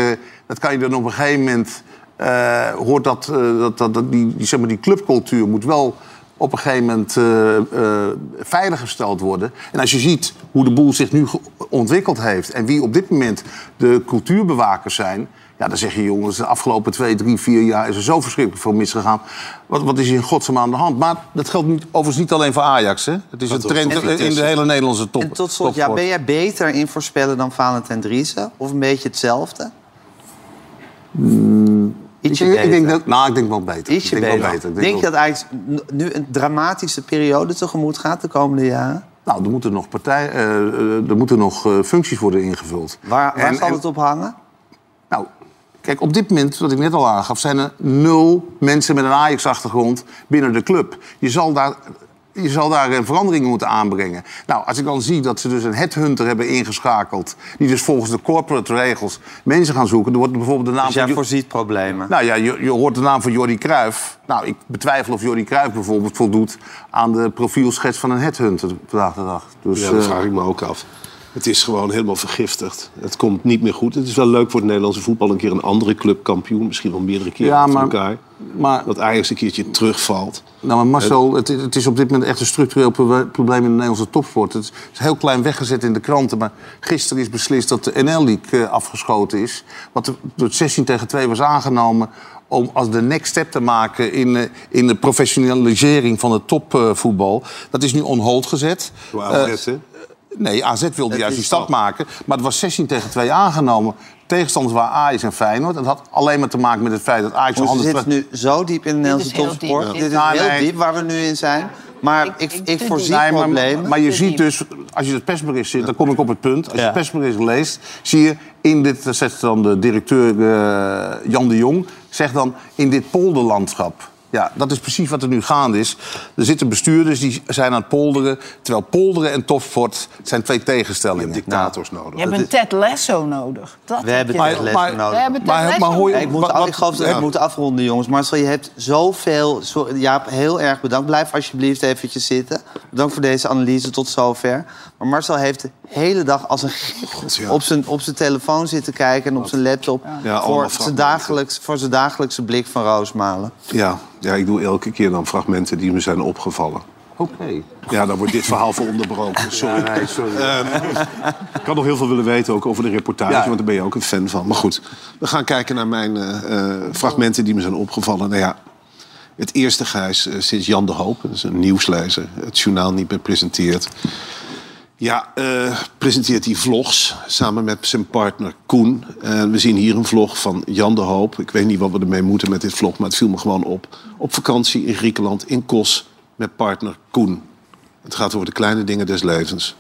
dat kan je dan op een gegeven moment... eh, hoort dat, eh, dat, dat, dat die, die, zeg maar, die clubcultuur moet wel op een gegeven moment eh, eh, veiliggesteld worden. En als je ziet hoe de boel zich nu ge- ontwikkeld heeft... en wie op dit moment de cultuurbewakers zijn... Ja, dan zeg je jongens, de afgelopen twee, drie, vier jaar is er zo verschrikkelijk veel misgegaan. Wat, wat is hier in godsnaam aan de hand? Maar dat geldt niet, overigens niet alleen voor Ajax. Hè? Het is een trend ook voor eh, in de Vitesse. hele Nederlandse top. en tot slot, ja, topsport. ben jij beter in voorspellen dan Valentijn Driessen? Of een beetje hetzelfde? Ietsje Mm, ik, ik beter. denk dat, nou, ik denk wel beter. Ietsje ik denk wel beter. beter. Ik Denk je wel- dat Ajax n- nu een dramatische periode tegemoet gaat de komende jaren? Nou, er moeten nog, partij, eh, eh, er moeten nog eh, functies worden ingevuld. Waar, waar En- zal en- het op hangen? Nou, kijk, op dit moment, wat ik net al aangaf... zijn er nul mensen met een Ajax-achtergrond binnen de club. Je zal daar... Je zal daar een verandering moeten aanbrengen. Nou, als ik dan zie dat ze dus een headhunter hebben ingeschakeld... die dus volgens de corporate regels mensen gaan zoeken... dan wordt bijvoorbeeld de naam Dus jij Jo- voorziet problemen. nou ja, je, je hoort de naam van Jordi Cruijff. Nou, ik betwijfel of Jordi Cruijff bijvoorbeeld voldoet... aan de profielschets van een headhunter vandaag de dag. Dus, Ja, dat eh, vraag ik me ook af. Het is gewoon helemaal vergiftigd. Het komt niet meer goed. Het is wel leuk voor het Nederlandse voetbal een keer een andere club kampioen. Misschien wel meerdere keren Ja, achter maar- elkaar. maar Dat Ajax een keertje terugvalt. Nou, maar Marcel, het, het is op dit moment echt een structureel proble- probleem in de Nederlandse topsport. Het is heel klein weggezet in de kranten, maar gisteren is beslist dat de NL-league eh, afgeschoten is. Wat er door het 16 tegen 2 was aangenomen om als de next step te maken in, eh, in de professionalisering van het topvoetbal. dat is nu on hold gezet. Door Eh, AZ, hè? Nee, AZ wilde juist is die stap maken. Maar het was 16 tegen 2 aangenomen. Tegenstanders waren Ajax en Feyenoord. Het had alleen maar te maken met het feit dat Ajax... een We andere zitten nu zo diep in de Nederlandse is heel topsport. diep. Dit is Ja. heel Nou, Nee. diep waar we nu in zijn. Maar ik, Ik- ik, ik vind voorzie Nee, maar, problemen. maar je Te ziet diep. dus, als je het persbericht ziet, dan kom ik op het punt. Als je Ja. het persbericht leest, zie je in dit, daar zet dan de directeur eh, Jan de Jong, Zeg dan in dit polderlandschap. Ja, dat is precies wat er nu gaande is. Er zitten bestuurders die zijn aan het polderen. Terwijl polderen en topsport zijn twee tegenstellingen. Dictators Je nodig. hebt een Ted Lasso nodig. Dat We hebben heb je Ted nodig. Lasso nodig. We hebben Ted Maar- maar Lasso hoor je- nodig. Ik, moet, Wat- al- wat- ik geloof dat ja. ik moet afronden, jongens. Marcel, je hebt zoveel... Sorry, Jaap, heel erg bedankt. Blijf alsjeblieft eventjes zitten. Bedankt voor deze analyse tot zover. Maar Marcel heeft de hele dag als een gek ja. op, zijn, op zijn telefoon zitten kijken... en op zijn laptop Ja, allemaal voor, zijn fragmenten. dagelijks, voor zijn dagelijkse blik van Roosmalen. Ja, ja, ik doe elke keer dan fragmenten die me zijn opgevallen. Oké. Ja, dan wordt dit verhaal voor onderbroken. Sorry. Ja, nee, sorry. Ik had nog heel veel willen weten ook over de reportage, Ja. want daar ben je ook een fan van. Maar goed, we gaan kijken naar mijn eh, eh, fragmenten die me zijn opgevallen. Nou ja, het eerste gijs eh, sinds Jan de Hoop, dat is een nieuwslezer, het journaal niet meer presenteert. Ja, eh, presenteert hij vlogs samen met zijn partner Koen. En we zien hier een vlog van Jan de Hoop. Ik weet niet wat we ermee moeten met dit vlog, maar het viel me gewoon op. Op vakantie in Griekenland, in Kos, met partner Koen. Het gaat over de kleine dingen des levens.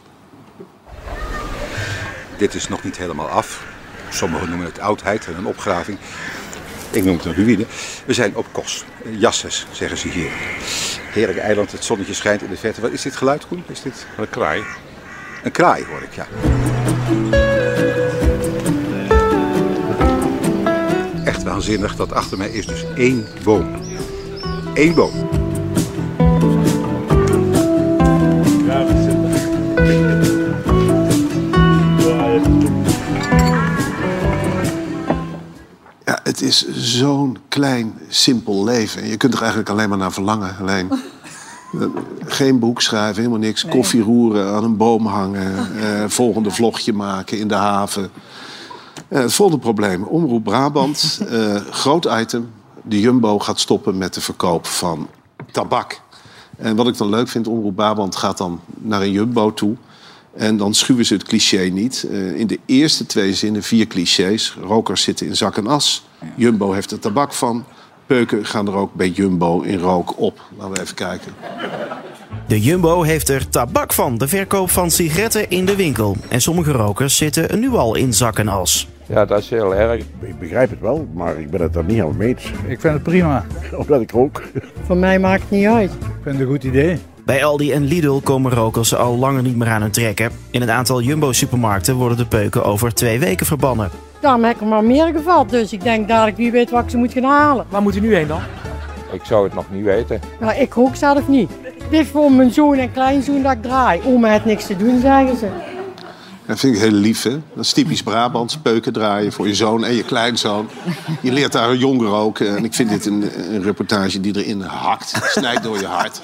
Dit is nog niet helemaal af. Sommigen noemen het oudheid en een opgraving. Ik noem het een ruïne. We zijn op Kos. eh, Jasses, zeggen ze hier. Heerlijk eiland, het zonnetje schijnt in de verte. Wat is dit geluid, Koen? Is dit... Een kraai. Een kraai, hoor ik, ja. Echt waanzinnig dat achter mij is dus één boom. Eén boom. Ja, het is zo'n klein, simpel leven. En je kunt er eigenlijk alleen maar naar verlangen. Alleen, eh, geen boek schrijven, helemaal niks. Koffie roeren, aan een boom hangen. eh, volgende vlogje maken in de haven. Eh, het volgende probleem. Omroep Brabant. eh, groot item. De Jumbo gaat stoppen met de verkoop van tabak. En wat ik dan leuk vind, Omroep Brabant gaat dan naar een Jumbo toe. En dan schuwen ze het cliché niet. Eh, in de eerste twee zinnen vier clichés. Rokers zitten in zak en as. Jumbo heeft er tabak van. Peuken gaan er ook bij Jumbo in rook op. Laten we even kijken. De Jumbo heeft er tabak van, de verkoop van sigaretten in de winkel. En sommige rokers zitten nu al in zak en as. Ja, dat is heel erg. Ik begrijp het wel, maar ik ben het er niet helemaal mee eens. Ik vind het prima. Omdat ik rook. Voor mij maakt het niet uit. Ik vind het een goed idee. Bij Aldi en Lidl komen rokers al langer niet meer aan hun trekken. In een aantal Jumbo-supermarkten worden de peuken over twee weken verbannen. Daarom heb ik er maar meer gevat. Dus ik denk dadelijk wie weet wat ik ze moet gaan halen. Waar moet u nu heen dan? Ik zou het nog niet weten. Nou, ik rook zelf niet. Dit is voor mijn zoon en kleinzoon dat ik draai. Oma heeft niks te doen, zeggen ze. Dat vind ik heel lief, hè? Dat is typisch Brabants. Peuken draaien voor je zoon en je kleinzoon. Je leert daar jong roken. eh, En ik vind dit een, een reportage die erin hakt. Snijdt door je hart.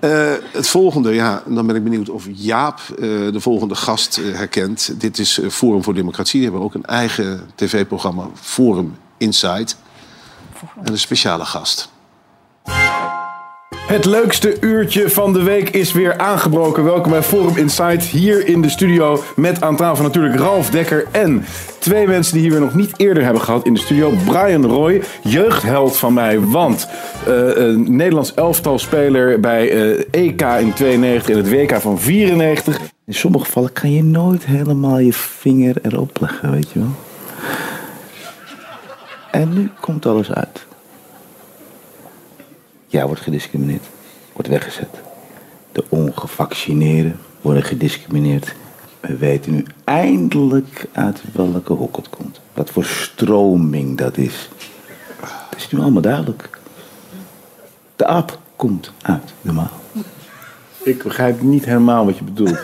Eh, het volgende, ja, en dan ben ik benieuwd of Jaap eh, de volgende gast eh, herkent. Dit is eh, Forum voor Democratie. Die hebben ook een eigen tv-programma, Forum Insight. En een speciale gast. Het leukste uurtje van de week is weer aangebroken. Welkom bij Forum Insight hier in de studio. Met aan tafel natuurlijk Ralf Dekker en twee mensen die hier weer nog niet eerder hebben gehad in de studio. Brian Roy, jeugdheld van mij, want eh, een Nederlands elftalspeler bij eh, EK in 92 en het WK van 94. In sommige gevallen kan je nooit helemaal je vinger erop leggen, weet je wel. En nu komt alles uit. Jij wordt gediscrimineerd, wordt weggezet. De ongevaccineerden worden gediscrimineerd. We weten nu eindelijk uit welke hoek het komt. Wat voor stroming dat is. Het is nu allemaal duidelijk. De aap komt uit de maal. Ik begrijp niet helemaal wat je bedoelt.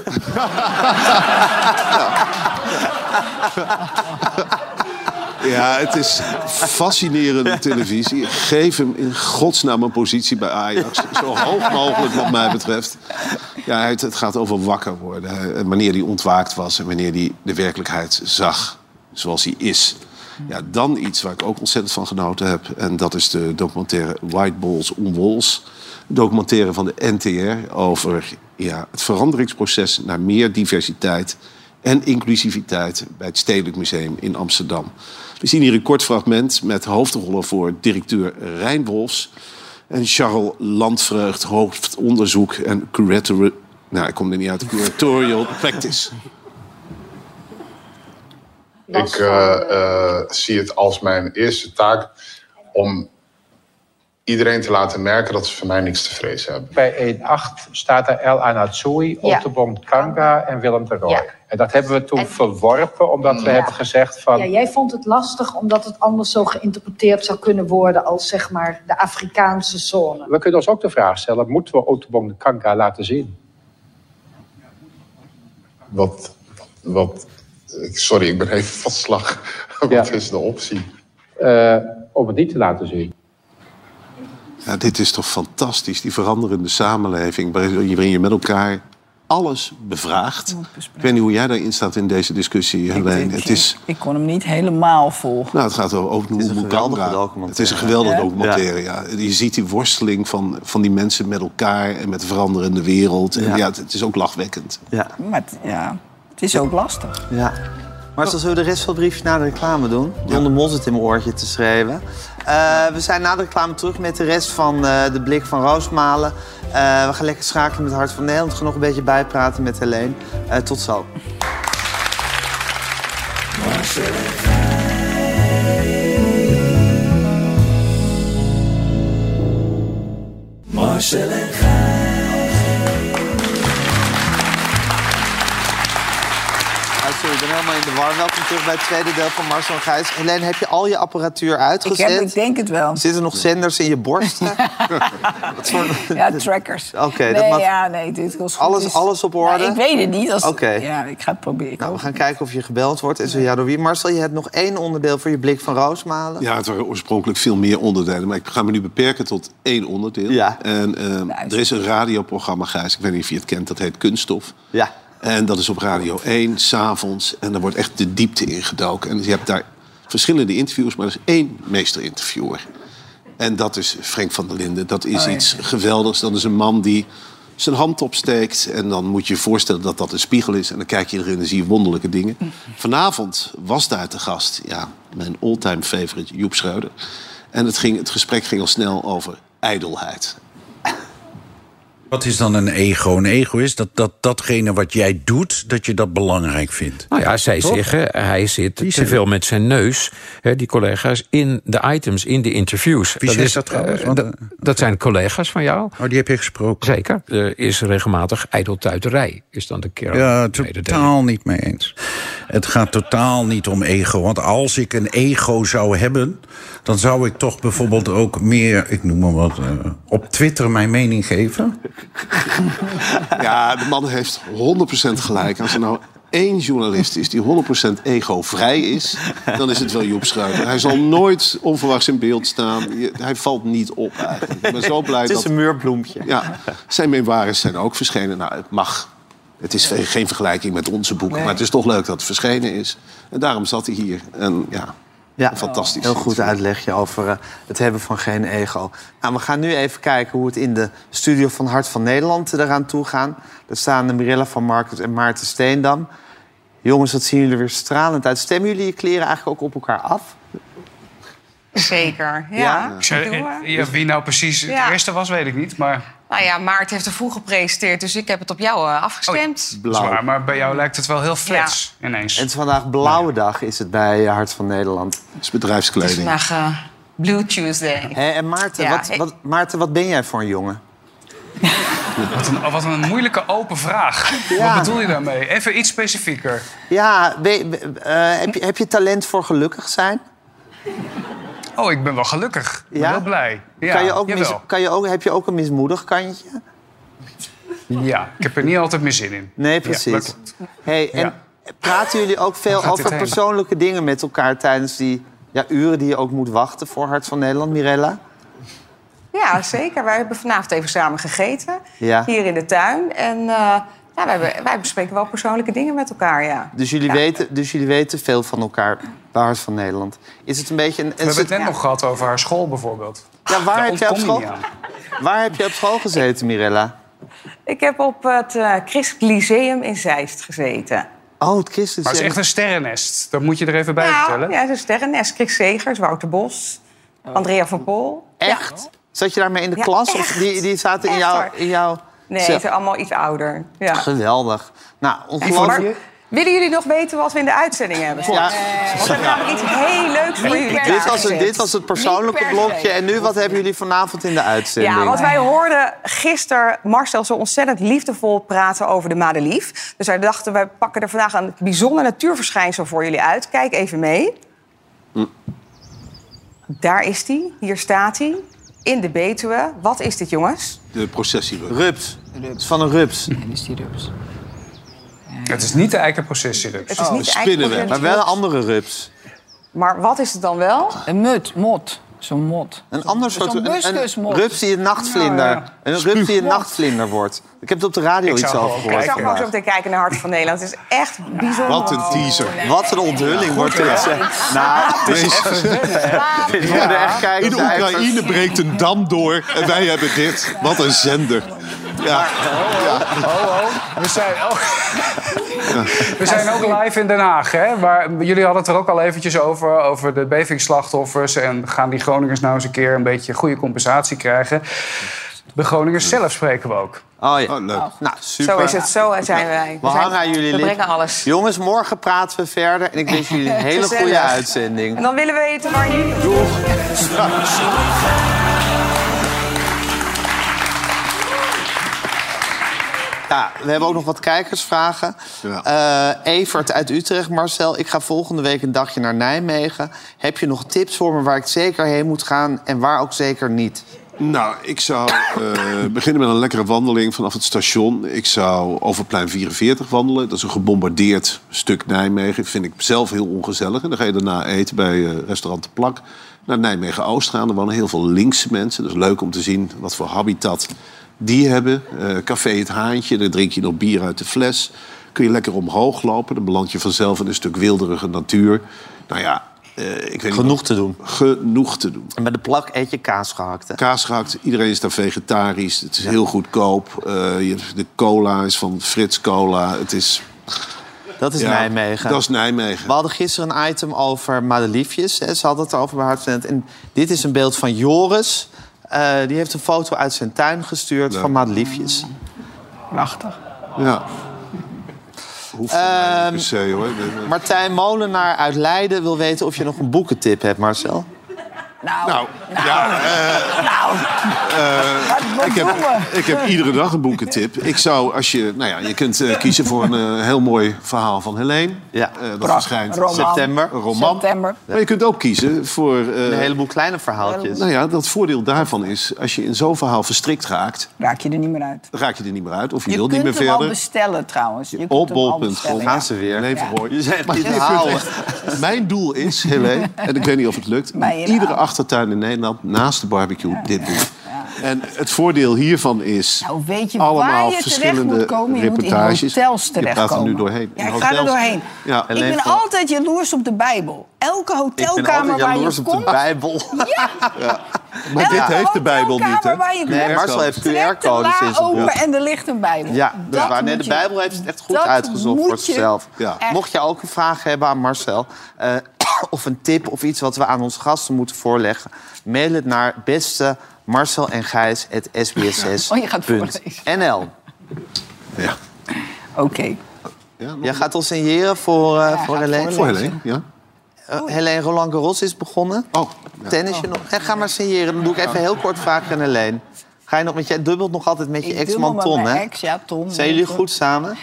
Ja, het is fascinerende televisie. Geef hem in godsnaam een positie bij Ajax. Zo hoog mogelijk wat mij betreft. Ja, het, het gaat over wakker worden. hè. Wanneer hij ontwaakt was en wanneer hij de werkelijkheid zag zoals hij is. Ja, dan iets waar ik ook ontzettend van genoten heb. En dat is de documentaire White Balls on Walls. Een Documentaire van de NTR over ja, het veranderingsproces naar meer diversiteit en inclusiviteit bij het Stedelijk Museum in Amsterdam. We zien hier een kort fragment met hoofdrollen voor directeur Rijn Wolfs en Charles Landvreugd, hoofdonderzoek en curator... Nou, ik kom er niet uit. Curatorial practice. Ik eh, eh, zie het als mijn eerste taak om iedereen te laten merken dat ze voor mij niks te vrezen hebben. Bij 1-8 staat er El Anatsui, Ja. Ottobong Kanga en Willem de Rooij. En dat hebben we toen verworpen, omdat we Ja. hebben gezegd van... Ja, jij vond het lastig omdat het anders zo geïnterpreteerd zou kunnen worden als zeg maar de Afrikaanse zone. We kunnen ons ook de vraag stellen, moeten we Ottobong Kanga laten zien? Wat, wat, ik- sorry, ik ben even van slag. Wat is de optie? Eh, om het niet te laten zien. Ja, dit is toch fantastisch, die veranderende samenleving... waarin je- waarin je met elkaar alles bevraagt. Ik weet niet hoe jij daarin staat in deze discussie, Helene. Het is, Ik kon hem niet helemaal volgen. nou, het gaat over over het is een geweldige documentaire. Het is een geweldige Ja. documentaire, ja. Je ziet die worsteling van, van die mensen met elkaar... en met de veranderende wereld. En Ja. ja. het, het is ook lachwekkend. Ja. Maar het, ja, het is ook lastig. Ja. Maar zullen we de rest van het briefje na de reclame doen? Jon de Mol zit in mijn oortje te schreeuwen. Eh, we zijn na de reclame terug met de rest van eh, de blik van Roosmalen. Eh, we gaan lekker schakelen met Hart van Nederland. Gaan nog een beetje bijpraten met Helene. Eh, tot zo. Marcel en Gijs. Ah, sorry, ik ben helemaal in de war. Welkom terug bij het tweede deel van Marcel en Gijs. Helene, heb je al je apparatuur Ik, uitgezet? heb, ik denk het wel. Zitten nog zenders in je borst? Ja, trackers. Oké, dat nee, mag- ja, nee, dit was goed. Alles- is- alles op orde? Nou, ik weet het niet. Als... Oké. Ja, ik ga het proberen. Nou, we gaan kijken of je gebeld wordt. En zo ja, door wie? Marcel, je hebt nog één onderdeel voor je blik van Roosmalen. Ja, het waren oorspronkelijk veel meer onderdelen. Maar ik ga me nu beperken tot één onderdeel. En ehm, er is een radioprogramma, Gijs. Ik weet niet of je het kent. Dat heet Kunststof. Ja. En dat is op Radio 1, s'avonds. En daar wordt echt de diepte in gedoken. En je hebt daar verschillende interviews. Maar er is één meesterinterviewer. En dat is Frank van der Linden. Dat is Oh, ja. iets geweldigs. Dat is een man die zijn hand opsteekt. En dan moet je je voorstellen dat dat een spiegel is. En dan kijk je erin en zie je wonderlijke dingen. Vanavond was daar te gast, ja, mijn all-time favorite, Joep Schreuder. En het, ging, het gesprek ging al snel over ijdelheid. Wat is dan een ego? Een ego is dat, dat datgene wat jij doet, dat je dat belangrijk vindt. Nou ja, zij Toch? zeggen, hij zit te zeggen veel met zijn neus, hè, die collega's, in de items, in de interviews. Wie zegt dat trouwens? eh, Want, dat, dat zijn collega's van jou. Oh, die heb je gesproken. Zeker. Er is regelmatig ijdeltuiterij, is dan de kern. Ja, totaal niet mee eens. Het gaat totaal niet om ego. Want als ik een ego zou hebben, dan zou ik toch bijvoorbeeld ook meer, ik noem maar wat, eh, op Twitter mijn mening geven. Ja, de man heeft 100% gelijk. Als er nou één journalist is die 100% ego-vrij is... dan is het wel Joep Schreuder. Hij zal nooit onverwachts in beeld staan. Je- Hij valt niet op eigenlijk. Ik ben zo blij Het is dat... een muurbloempje. Ja, zijn memoires zijn ook verschenen. Nou, het mag. Het is ve- geen vergelijking met onze boeken. Maar het is toch leuk dat het verschenen is. En daarom zat hij hier. En ja, Ja, fantastisch. Heel goed uitlegje over eh, het hebben van geen ego. Nou, we gaan nu even kijken hoe het in de studio van Hart van Nederland eh, eraan toe gaan. Daar staan de Mirella van Markens en Maarten Steendam. Jongens, wat zien jullie er weer stralend uit. Stemmen jullie je kleren eigenlijk ook op elkaar af? Zeker, ja. Ik zei, Doe eh, maar. ja, wie nou precies het Ja. eerste was, weet ik niet. Maar Nou ja, Maarten heeft er vroeg gepresenteerd, dus ik heb het op jou eh, afgestemd. Zwaar, maar bij jou lijkt het wel heel Oh, flats ineens. Het is vandaag Blauwe Dag is het bij eh, Hart van Nederland. Het is Het is bedrijfskleding. vandaag eh, Blue Tuesday. en Maarten, Ja, wat, ik- wat, Maarten, wat ben jij voor een jongen? Wat een, wat een moeilijke open vraag. Ja. Wat bedoel je daarmee? Even iets specifieker. Ja, ben- ben- eh, heb, je, heb je talent voor gelukkig zijn? Oh, ik ben wel gelukkig. Ik ben Ja? heel blij. Ja, kan je ook mis, jawel. kan je ook, heb je ook een mismoedig kantje? Ja, ik heb er niet altijd meer zin in. Nee, Ja, dat precies. klopt. hey, en praten jullie ook veel Waar gaat over dit heen? persoonlijke dingen met elkaar tijdens die ja, uren die je ook moet wachten voor Hart van Nederland, Mirella? Ja, zeker. Wij hebben vanavond even samen gegeten. Ja. Hier in de tuin. En eh, ja, wij, be- wij bespreken wel persoonlijke dingen met elkaar, ja. Dus jullie, weten, dus jullie weten veel van elkaar bij Hart van Nederland. Is het een beetje een. We hebben het net nog gehad over haar school bijvoorbeeld. Ja, waar Daar heb, jij op ontkom je school, niet aan. waar heb je op school gezeten, Mirella? Ik heb op het eh Christelijk Lyceum in Zeist gezeten. Oh, het Christus. Maar het is echt een sterrennest. Dat moet je er even bij vertellen. Nou, Ja, zo'n sterrennest. Chris Segers, Wouter Bos, Oh. Andrea van Pol. Echt? Zat je daarmee in de Ja, klas? Of echt. die, die zaten in Echt, jouw. hoor. In jouw Nee, cel? ze zijn allemaal iets ouder. Ja. Geweldig. Nou, Maar ongelooflijk. willen jullie nog weten wat we in de uitzending hebben? Ja. Want we hebben namelijk iets heel leuks per dit, was het, zit. dit was het persoonlijke Niet per blokje. se. En nu, wat hebben jullie vanavond in de uitzending? Ja, want wij hoorden gisteren Marcel zo ontzettend liefdevol praten over de madelief. Dus wij dachten, wij pakken er vandaag een bijzonder natuurverschijnsel voor jullie uit. Kijk even mee. Hm. Daar is hij, hier staat hij, in de Betuwe. Wat is dit, jongens? De processie. Rups. Het is van een rups. En is die dus? rups? Het is niet de eikenprocessierups. Het is niet de Oh, eikenprocessierups. spinnenweb. Maar wel een andere rups. Maar wat is het dan wel? Een mut, mot. Zo'n mot. Een ander Zo'n soort... Een, een buskusmot. rups die een nachtvlinder... Nou, ja. Een rups die een nachtvlinder wordt. Ik heb het op de radio Ik iets zag over Ik gehoord zag hem ook vandaag. zo meteen kijken naar Hart van Nederland. Het is echt bijzonder. Wat een onthulling wordt dit. zeg. Nou, het is Deze- Dit worden echt kijkers In de uit. Oekraïne breekt een dam door en wij hebben dit. Wat een zender. Ja. We zijn ook, we zijn ook live in Den Haag. Hè? Maar jullie hadden het er ook al eventjes over, over de bevingsslachtoffers. En gaan die Groningers nou eens een keer een beetje goede compensatie krijgen? De Groningers zelf spreken we ook. Oh ja. Nou, super. Zo is het, zo zijn wij. We zijn- hangen aan jullie We lip. brengen alles. Jongens, morgen praten we verder. En ik wens jullie een hele Gezellig. goede uitzending. En dan willen we weten waar je... Ja, we hebben ook nog wat kijkersvragen. Eh, Evert uit Utrecht, Marcel. Ik ga volgende week een dagje naar Nijmegen. Heb je nog tips voor me waar ik zeker heen moet gaan en waar ook zeker niet? Nou, ik zou eh, beginnen met een lekkere wandeling vanaf het station. Ik zou over plein 44 wandelen. Dat is een gebombardeerd stuk Nijmegen. Vind ik zelf heel ongezellig. En dan ga je daarna eten bij eh, restaurant De Plak. Naar Nijmegen-Oost gaan. Er wonen heel veel linkse mensen. Dat is leuk om te zien wat voor habitat die hebben. Eh, Café Het Haantje, daar drink je nog bier uit de fles. Kun je lekker omhoog lopen. Dan beland je vanzelf in een stuk wilderige natuur. Nou ja, eh, ik weet Genoeg te doen. Genoeg te doen. En bij de plak eet je kaas gehakt. Hè? Kaas gehakt, iedereen is daar vegetarisch. Het is heel goedkoop. Eh, je- de cola is van Frits Cola. Het is... Dat is Ja, Nijmegen. Dat is Nijmegen. We hadden gisteren een item over madeliefjes. Hè. Ze hadden het erover bij Hartstand. En dit is een beeld van Joris. Eh, die heeft een foto uit zijn tuin gestuurd van madeliefjes. Prachtig. Ja. Ehm. Hoeft mij niet per se, hoor. Martijn Molenaar uit Leiden wil weten of je nog een boekentip hebt, Marcel. Nou, ja. eh, nou. eh, wat ik, doen heb, we? ik heb iedere dag een boekentip. Ik zou, als je, nou ja, je kunt eh, kiezen voor een eh, heel mooi verhaal van Helene. Ja. dat verschijnt roman. September. Een roman. September. Maar je kunt ook kiezen voor... eh, Een heleboel kleine verhaaltjes. Nou ja, dat voordeel daarvan is, als je in zo'n verhaal verstrikt raakt... Raak je er niet meer uit. Raak je er niet meer uit, of je, Je wilt kunt niet meer hem al verder. bestellen trouwens. Je kunt Op hem al bol.com. bestellen, ja. ze weer. Nee, verhoor. Je zegt Maar niet je kunt verhalen. echt- Mijn doel is, Helene, en ik weet niet of het lukt... Mijn in iedere achtertuin in Nederland naast de barbecue dit doen. En het voordeel hiervan is... Nou, weet je allemaal waar je terecht verschillende moet komen? Je moet in reportages. hotels Je gaat er terechtkomen. nu doorheen. Ja, In ik ga er hotels. doorheen. Ja. ik ben altijd jaloers op de Bijbel. Elke hotelkamer waar je komt... Bijbel. Ja, Maar dit heeft de Bijbel niet, hè? waar je komt. Nee, Marcel heeft trekt de QR-codes la in zijn open boek. en er ligt een Bijbel. Ja, dat is waar. moet Nee, de je- Bijbel heeft het echt goed dat uitgezocht voor moet je zichzelf. Ja. echt- Mocht je ook een vraag hebben aan Marcel... eh, of een tip of iets wat we aan onze gasten moeten voorleggen... mail het naar beste Marcel en Gijs Oh, je gaat voorlezen. NL. Ja. Oké. Jij gaat ons signeren voor, eh voor Helene? Voor Helene, ja. Eh, Helene Roland Garros is begonnen. Oh. Tennisje nog. En ga maar signeren. Dan doe ik even heel kort vragen aan Helene. Ga je nog met je... Dubbelt nog altijd met je ex-man Dubbel met Ton, mijn hè? ex, ja, Ton. Zijn jullie goed samen?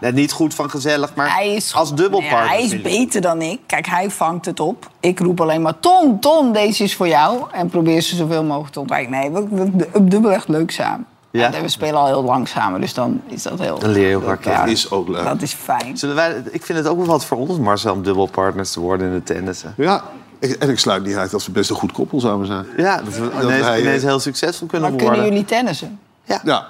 Nou, niet goed van gezellig, maar als dubbelpartner. Ja, hij is beter dan ik. Kijk, hij vangt het op. Ik roep alleen maar, Ton, Ton, deze is voor jou. En probeer ze zoveel mogelijk te ontwijken. Nee, we, we, we dubbel echt leuk samen. Ja. En we spelen al heel lang samen, dus dan is dat heel... Dan leer je elkaar kennen. is ook leuk. Dat is fijn. Zullen wij, ik vind het ook wel wat voor ons, Marcel, om dubbelpartners te worden in het tennissen. Ja, ik- en ik sluit niet uit dat we best een goed koppel samen zijn. Ja, dat we ineens, hij, eh, ineens heel succesvol kunnen Maar worden. kunnen jullie tennissen? Ja.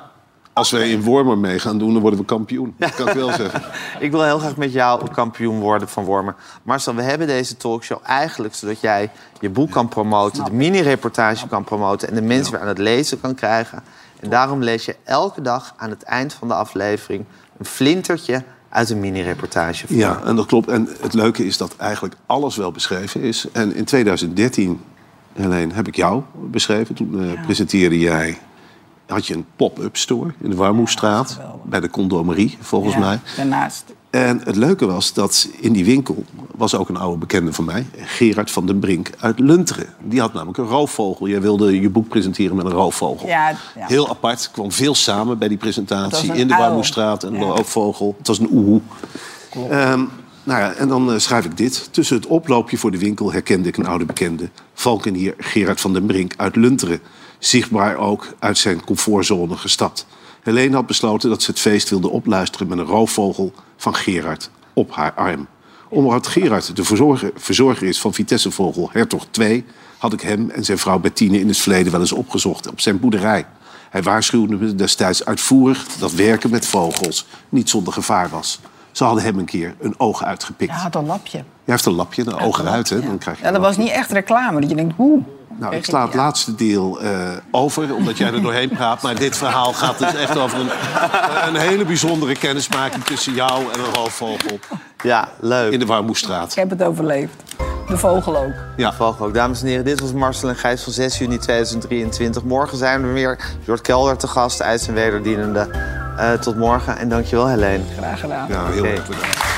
Als wij in Wormer mee gaan doen, dan worden we kampioen. Dat kan ik wel zeggen. Ik wil heel graag met jou kampioen worden van Wormen. Marcel, we hebben deze talkshow eigenlijk zodat jij je boek kan promoten... de mini-reportage kan promoten en de mensen weer aan het lezen kan krijgen. En daarom lees je elke dag aan het eind van de aflevering... een flintertje uit een mini-reportage. voor. Ja, en dat klopt. En het leuke is dat eigenlijk alles wel beschreven is. En in 2013, Helene, heb ik jou beschreven. Toen eh, presenteerde jij... Had je een pop-up store in de Warmoestraat. bij de Condomerie, volgens mij. Daarnaast. En het leuke was dat in die winkel was ook een oude bekende van mij, Gerard van den Brink uit Lunteren. Die had namelijk een roofvogel. Jij wilde je boek presenteren met een roofvogel. Ja, ja. Heel apart, kwam veel samen bij die Het presentatie was een in de uil. Warmoestraat, een roofvogel. Het was een oehoe. Ehm, nou ja, en dan eh, schrijf ik dit. Tussen het oploopje voor de winkel herkende ik een oude bekende. Valkenier Gerard van den Brink uit Lunteren. Zichtbaar ook uit zijn comfortzone gestapt. Helene had besloten dat ze het feest wilde opluisteren... met een roofvogel van Gerard op haar arm. Omdat Gerard de verzorger, verzorger is van Vitessevogel Hertog 2... had ik hem en zijn vrouw Bettine in het verleden wel eens opgezocht op zijn boerderij. Hij waarschuwde me destijds uitvoerig dat werken met vogels niet zonder gevaar was. Ze hadden hem een keer een oog uitgepikt. Hij had een lapje. Jij heeft een lapje, een oog eruit, hè? Dan krijg je Ja, dat was niet echt reclame. Dat je denkt, hoe? nou, ik sla het laatste deel eh, over, omdat jij er doorheen praat. Maar dit verhaal gaat dus echt over een, een hele bijzondere kennismaking tussen jou en een roofvogel. Ja, leuk. In de Warmoestraat. Ik heb het overleefd. De vogel ook. Ja. Nou, ook. Dames en heren, dit was Marcel en Gijs van 6 juni 2023. Morgen zijn we weer. Jort Kelder te gast, IJs en wederdienende. Eh, tot morgen en dankjewel Helene. Graag gedaan. Ja, heel erg bedankt.